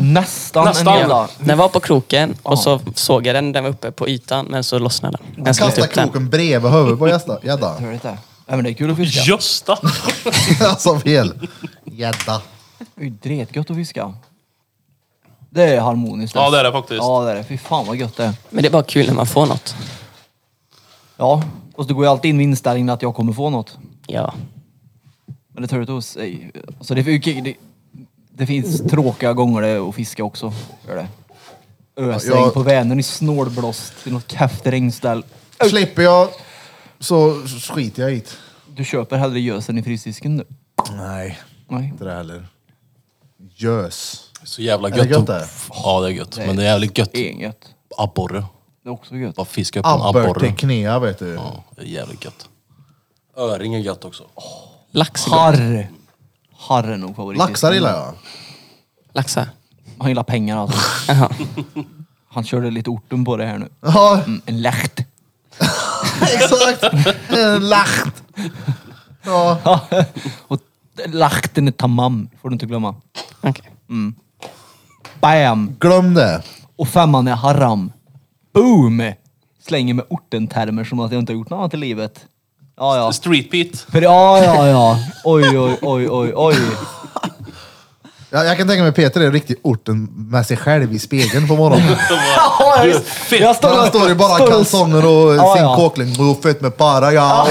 B: Nästan,
C: Nästan.
B: en jävla...
F: Den var på kroken och så såg jag den, den var uppe på ytan men så lossnade den. typ Jag släppte
A: Kasta
F: upp den.
A: kroken bredvid huvudet på gästa- gäddan.
B: Hör det där. Ja, men det är kul att fiska.
C: Gösta!
A: alltså fel. Gädda.
B: Det är ju dretgött att fiska. Det är harmoniskt.
C: Ja, det är det faktiskt.
B: Ja, det är det. Fy fan vad gött det är.
F: Men det är bara kul när man får något.
B: Ja, och det går ju alltid in med inställningen att jag kommer få något.
F: Ja.
B: Men det tar ut oss. Alltså det, det, det finns tråkiga gånger det att fiska också. Gör det. Ösregn
A: Ja, jag-
B: på Vänern i snålblåst i något käft regnställ.
A: Slipper jag så skiter jag i det.
B: Du köper hellre gösen i frysdisken nu?
A: Nej,
B: Nej.
A: inte det heller. Gös.
D: Så jävla
A: Är det
D: gött.
A: gött
D: att-
A: det?
D: Ja, det är gött. Men det är jävligt gött.
B: Det är inget gött.
D: Abborre.
B: Det är också gött.
D: Bara fiska upp en
A: Abber
D: abborre.
A: till knea vet du.
D: Ja, det är jävligt gött. Öring är gött också.
F: Lax. är gott.
B: Harr! Harr är nog favorit.
A: Laxar gillar jag.
F: Laxar.
B: Han gillar pengar alltså.
F: Jaha.
B: Han körde lite orten på det här nu.
A: Ja,
B: Mm, en lärt.
A: exakt. En Lacht. Ja,
B: Och lachten är tamam, får du inte glömma.
F: Okej.
B: Bam!
A: glöm det.
B: Och femman är haram. Boom! Slänger med ortentermer som att jag inte har gjort något annat i livet. Ja, ja.
C: Street Pete.
B: För, ja, ja, ja. Oj, oj, oj, oj, oj.
A: Jag, jag kan tänka mig Peter är riktigt orten med sig själv i spegeln på morgonen.
B: Ja, jag, jag står,
A: Han står i bara
B: står och-
A: kalsonger och
B: Ja,
A: sin
B: ja.
A: kåkling. Och fett med para, ja. Och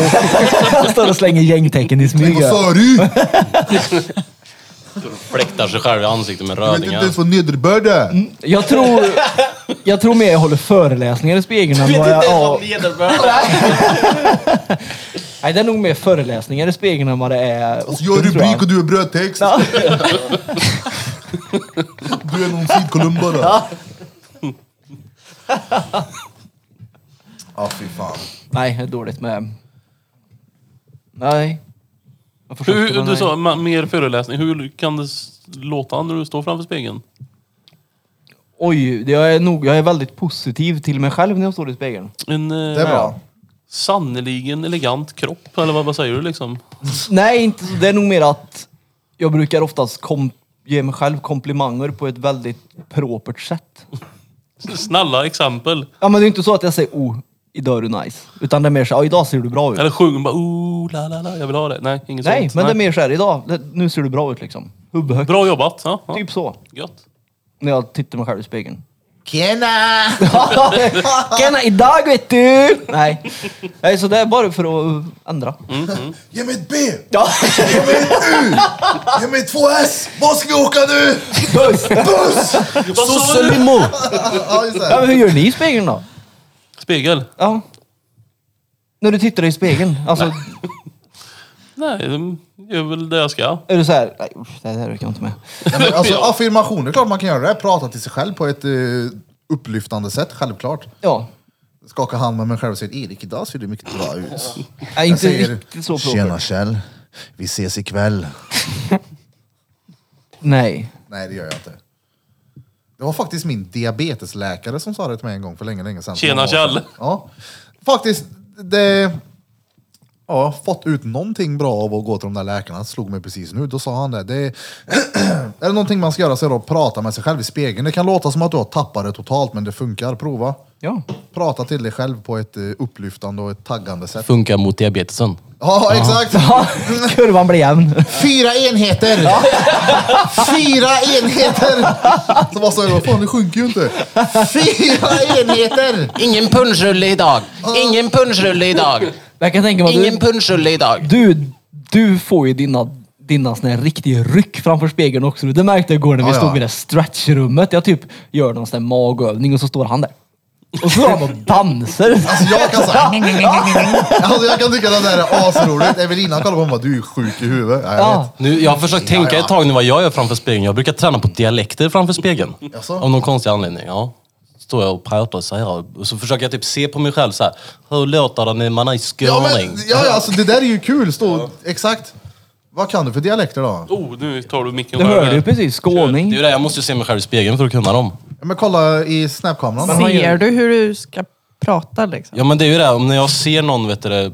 B: Jag står och slänger gängtecken i smyg.
A: vad sa du?
D: Fläktar sig själv i ansiktet med
A: Du vet inte
D: rödingar.
A: ens vad nederbörd är.
B: Jag tror, jag tror mer jag håller föreläsningar i spegeln än vad jag... Ja. Nej, det är nog mer föreläsningar i spegeln än vad det är
A: Alltså, jag är
B: orten, tror jag.
A: rubrik och du är brödtext. Du är någon sidkolumn bara. Ja, Ah, fy fan.
B: Nej, det är dåligt med... Nej. Jag försökte,
C: Hur,
B: men
C: du
B: nej.
C: sa ma- mer föreläsning. Hur kan det s- låta när du står framför spegeln?
B: Oj, det- jag är, nog, jag är väldigt positiv till mig själv när jag står i spegeln.
C: En
A: Det är
C: eh,
A: bra.
C: sannerligen elegant kropp, eller vad, vad säger du liksom?
B: Nej, inte, så. det är nog mer att jag brukar oftast kom, ge mig själv komplimanger på ett väldigt propert sätt.
C: Snälla exempel.
B: Ja, men det är inte så att jag säger oh, idag är du nice. Utan det är mer så här, "Ja, idag ser du bra ut.
C: Eller sjung bara ooh la la la, jag vill ha det. Nej, inget
B: Nej,
C: sånt.
B: men det är mer så här, idag, det, nu ser du bra ut liksom. Hubbehögt.
C: Bra jobbat. Ja, ja.
B: Typ så,
C: Gött.
B: när jag tittar mig själv i spegeln.
A: Tjena!
B: Tjena, idag vet du! Nej. Nej, så det är bara för att ändra.
A: Ge mig ett B! Ge mig ett U! Ge mig två S! Vad ska vi åka nu?
B: Puss!
A: Buss!
B: Sosselimo!
A: Ja, just
B: Ja,
A: det.
B: men hur gör ni i spegeln då?
C: Spegel?
B: Ja. När du tittar i spegeln, alltså,
C: Nej, de gör väl det jag ska.
B: är du så här, nej usch, det där räcker jag inte med.
A: Nej, men Alltså, affirmationer, klart man kan göra det. Prata till sig själv på ett eh, upplyftande sätt, självklart.
B: Ja,
A: Skaka hand med mig själv och säga Erik, idag ser du mycket bra ut.
B: nej,
A: Jag
B: inte
A: säger,
B: riktigt så
A: tjena
B: proper.
A: Kjell, vi ses ikväll.
B: Nej.
A: Nej, det gör jag inte. Det var faktiskt min diabetesläkare som sa det till mig en gång för länge, länge sedan.
C: Tjena,
A: Många år
C: Kjell.
A: sedan. Ja. Faktiskt, det... Ja, fått ut någonting bra av att gå till de där läkarna. Det slog mig precis nu. Då sa han det. det är, är det någonting man ska göra så är det att prata med sig själv i spegeln. Det kan låta som att du har tappat det totalt, men det funkar. Prova.
B: Ja.
A: Prata till dig själv på ett eh, upplyftande och ett taggande sätt.
D: Funkar mot diabetesen.
A: Ja, exakt!
B: Kurvan blir jämn.
A: Fyra enheter! Fyra enheter! Så var så jag, vad fan det sjunker ju inte. Fyra enheter!
F: Ingen punschrulle idag! Ingen punschrulle idag!
B: Jag kan tänka mig att du,
F: punschrulle idag!
B: du, du får ju dina, dina såna här riktiga ryck framför spegeln också. Det märkte jag igår när vi
A: Ja, ja.
B: stod i det här stretchrummet. Jag typ gör någon sån här magövning och så står han där. Och så står han och dansar.
A: Alltså jag kan säga, alltså jag kan tycka att det här är asroligt. Evelina kollar på mig och bara, du är sjuk i huvudet. Ja, jag
B: Ja.
D: Nu, jag har försökt tänka
A: ja.
D: ett tag nu vad jag gör framför spegeln. Jag brukar träna på dialekter framför spegeln.
A: Jaså?
D: Av någon konstig anledning, ja. Står jag och pratar så här och så försöker jag typ se på mig själv så här. Hur låter det när man är
A: vet. Ja,
D: skåning?
A: men, ja, ja, alltså det där är ju kul. Stå, Exakt. Va- Vad kan du för dialekter då?
C: Oh, nu tar du micken
B: Det
C: själv.
B: hörde du precis,
D: Det är ju
B: skåning.
D: det, jag måste ju se mig själv i spegeln för att kunna dem.
A: Ja, men kolla i snapkameran. då.
E: Ser du hur du ska prata liksom?
D: Ja men det är ju det, om när jag ser någon, vet du det,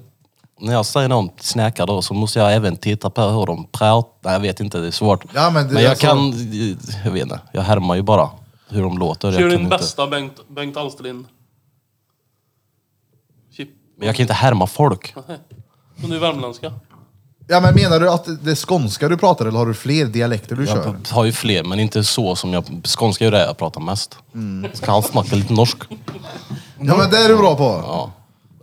D: när jag ser någon snacka då så måste jag även titta på hur de pratar. Nej, jag vet inte, det är svårt.
A: Ja, men det-
D: jag
A: alltså-
D: kan, jag vet inte, jag härmar ju bara hur de låter.
C: Kör
D: Jag kan,
C: din
D: inte,
C: bästa Bengt, Bengt Alsterlind. Chip.
D: men jag kan inte härma folk.
C: Men du är värmländska.
A: Ja, men menar du att det är skånska du pratar eller har du fler dialekter du kör?
D: Jag har ju fler, men inte så som jag, skånska är ju det jag pratar mest.
A: Mm.
D: Ska han snacka lite norsk?
A: Ja, men det är du bra på.
D: Ja.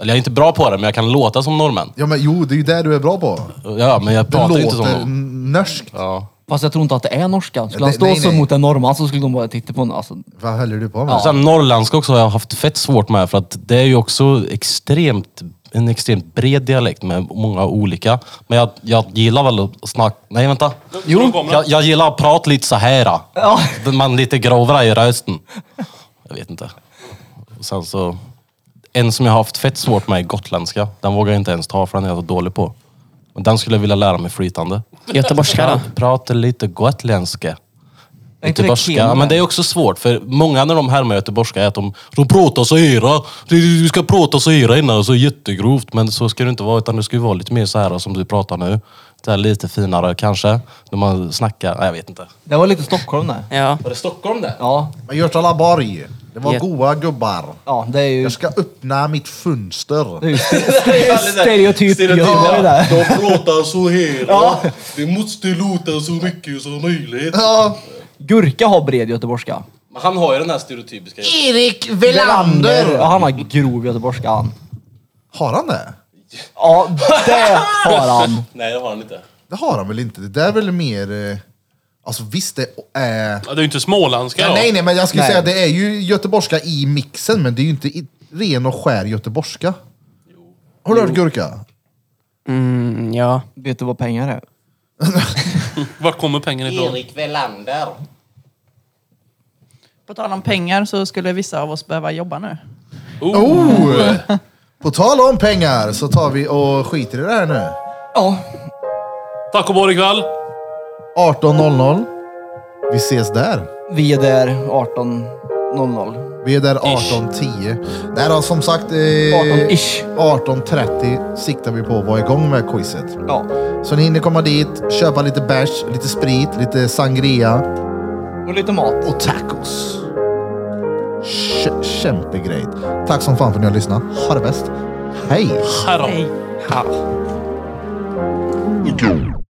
D: Eller jag är inte bra på det, men jag kan låta som norrmän.
A: Ja, men jo, det är ju det du är bra på.
D: Ja, men jag
A: Du
D: pratar ju inte som
A: låter
D: dem.
A: norskt.
D: Ja.
B: Fast jag tror inte att det är norska. Skulle han
A: Det-
B: stå
A: nej,
B: så
A: nej.
B: mot en norrman så skulle de bara titta på honom. Alltså,
A: Vad håller du på med?
D: Ja. Sen Alltså, norrländska också har jag haft fett svårt med för att det är ju också extremt, en extremt bred dialekt med många olika. Men jag, jag gillar väl att snacka... Nej vänta.
C: Jo. kameran.
D: Jag, jag gillar att prata lite så här.
B: Ja.
D: Man lite grovare i rösten. Jag vet inte. Och sen så... En som jag har haft fett svårt med är gotländska. Den vågar jag inte ens ta för den är jag så dålig på. Men den skulle jag vilja lära mig flytande.
F: Göteborgska då?
D: Prata lite gotländska.
A: typ
B: Är inte det
D: Göteborgska.
B: Keno?
D: Ja, men det är också svårt, för många när de härmar göteborgska är att de, de pratar så här. Du ska prata så här innan, så jättegrovt. Men så ska det inte vara, utan det ska ju vara lite mer så här som du pratar nu. Det här lite finare kanske, när man snackar. Nej, jag vet inte.
B: det var lite Stockholm det.
F: Ja.
D: Var det Stockholm det?
B: Ja,
A: Men Götala Borg, det var
F: Ja.
A: goa gubbar.
B: ja det är ju...
A: Jag ska öppna mitt
B: Det är
A: fönster.
B: ju stereotyp göteborgare där.
D: De pratar så här. Ja. Det måste låta så mycket som möjligt.
A: Ja,
B: Gurka har bred göteborgska.
D: Han har ju den här stereotypiska...
A: Erik
B: Ja,
A: Velander!
B: han har grov göteborgska han.
A: Har han det?
B: Ja, det har han.
D: Nej, det har han inte.
A: Det har han väl inte? Det där är väl mer... eh, Alltså visst det är...
C: Ja, det är ju inte småländska
A: Ja,
C: då.
A: nej, nej, men jag skulle
B: Nej.
A: säga att det är ju göteborgska i mixen, men det är ju inte i, ren och skär göteborgska. Har du hört gurka?
F: Mm, ja.
B: Vet du vad pengar är?
C: Vart kommer pengarna ifrån?
G: Velander.
E: På tal om pengar så skulle vissa av oss behöva jobba nu.
A: Oh! På tal om pengar så tar vi och skiter i det här nu.
B: Ja,
C: Taco Bar ikväll.
A: 18.00. Vi ses där.
B: vi är där 18.00.
A: Vi är där 18.10. Nej då, som sagt... Eh,
B: 18-ish.
A: 18.30 siktar vi på att vara igång med quizet.
B: Ja.
A: Så ni hinner komma dit, köpa lite bärs, lite sprit, lite sangria
B: Och lite mat.
A: och tacos. Kä- Kämpegrejt. Tack som fan för att ni har lyssnat. Ha det bäst. Hej!
C: Här då.
E: Hej.
A: Go.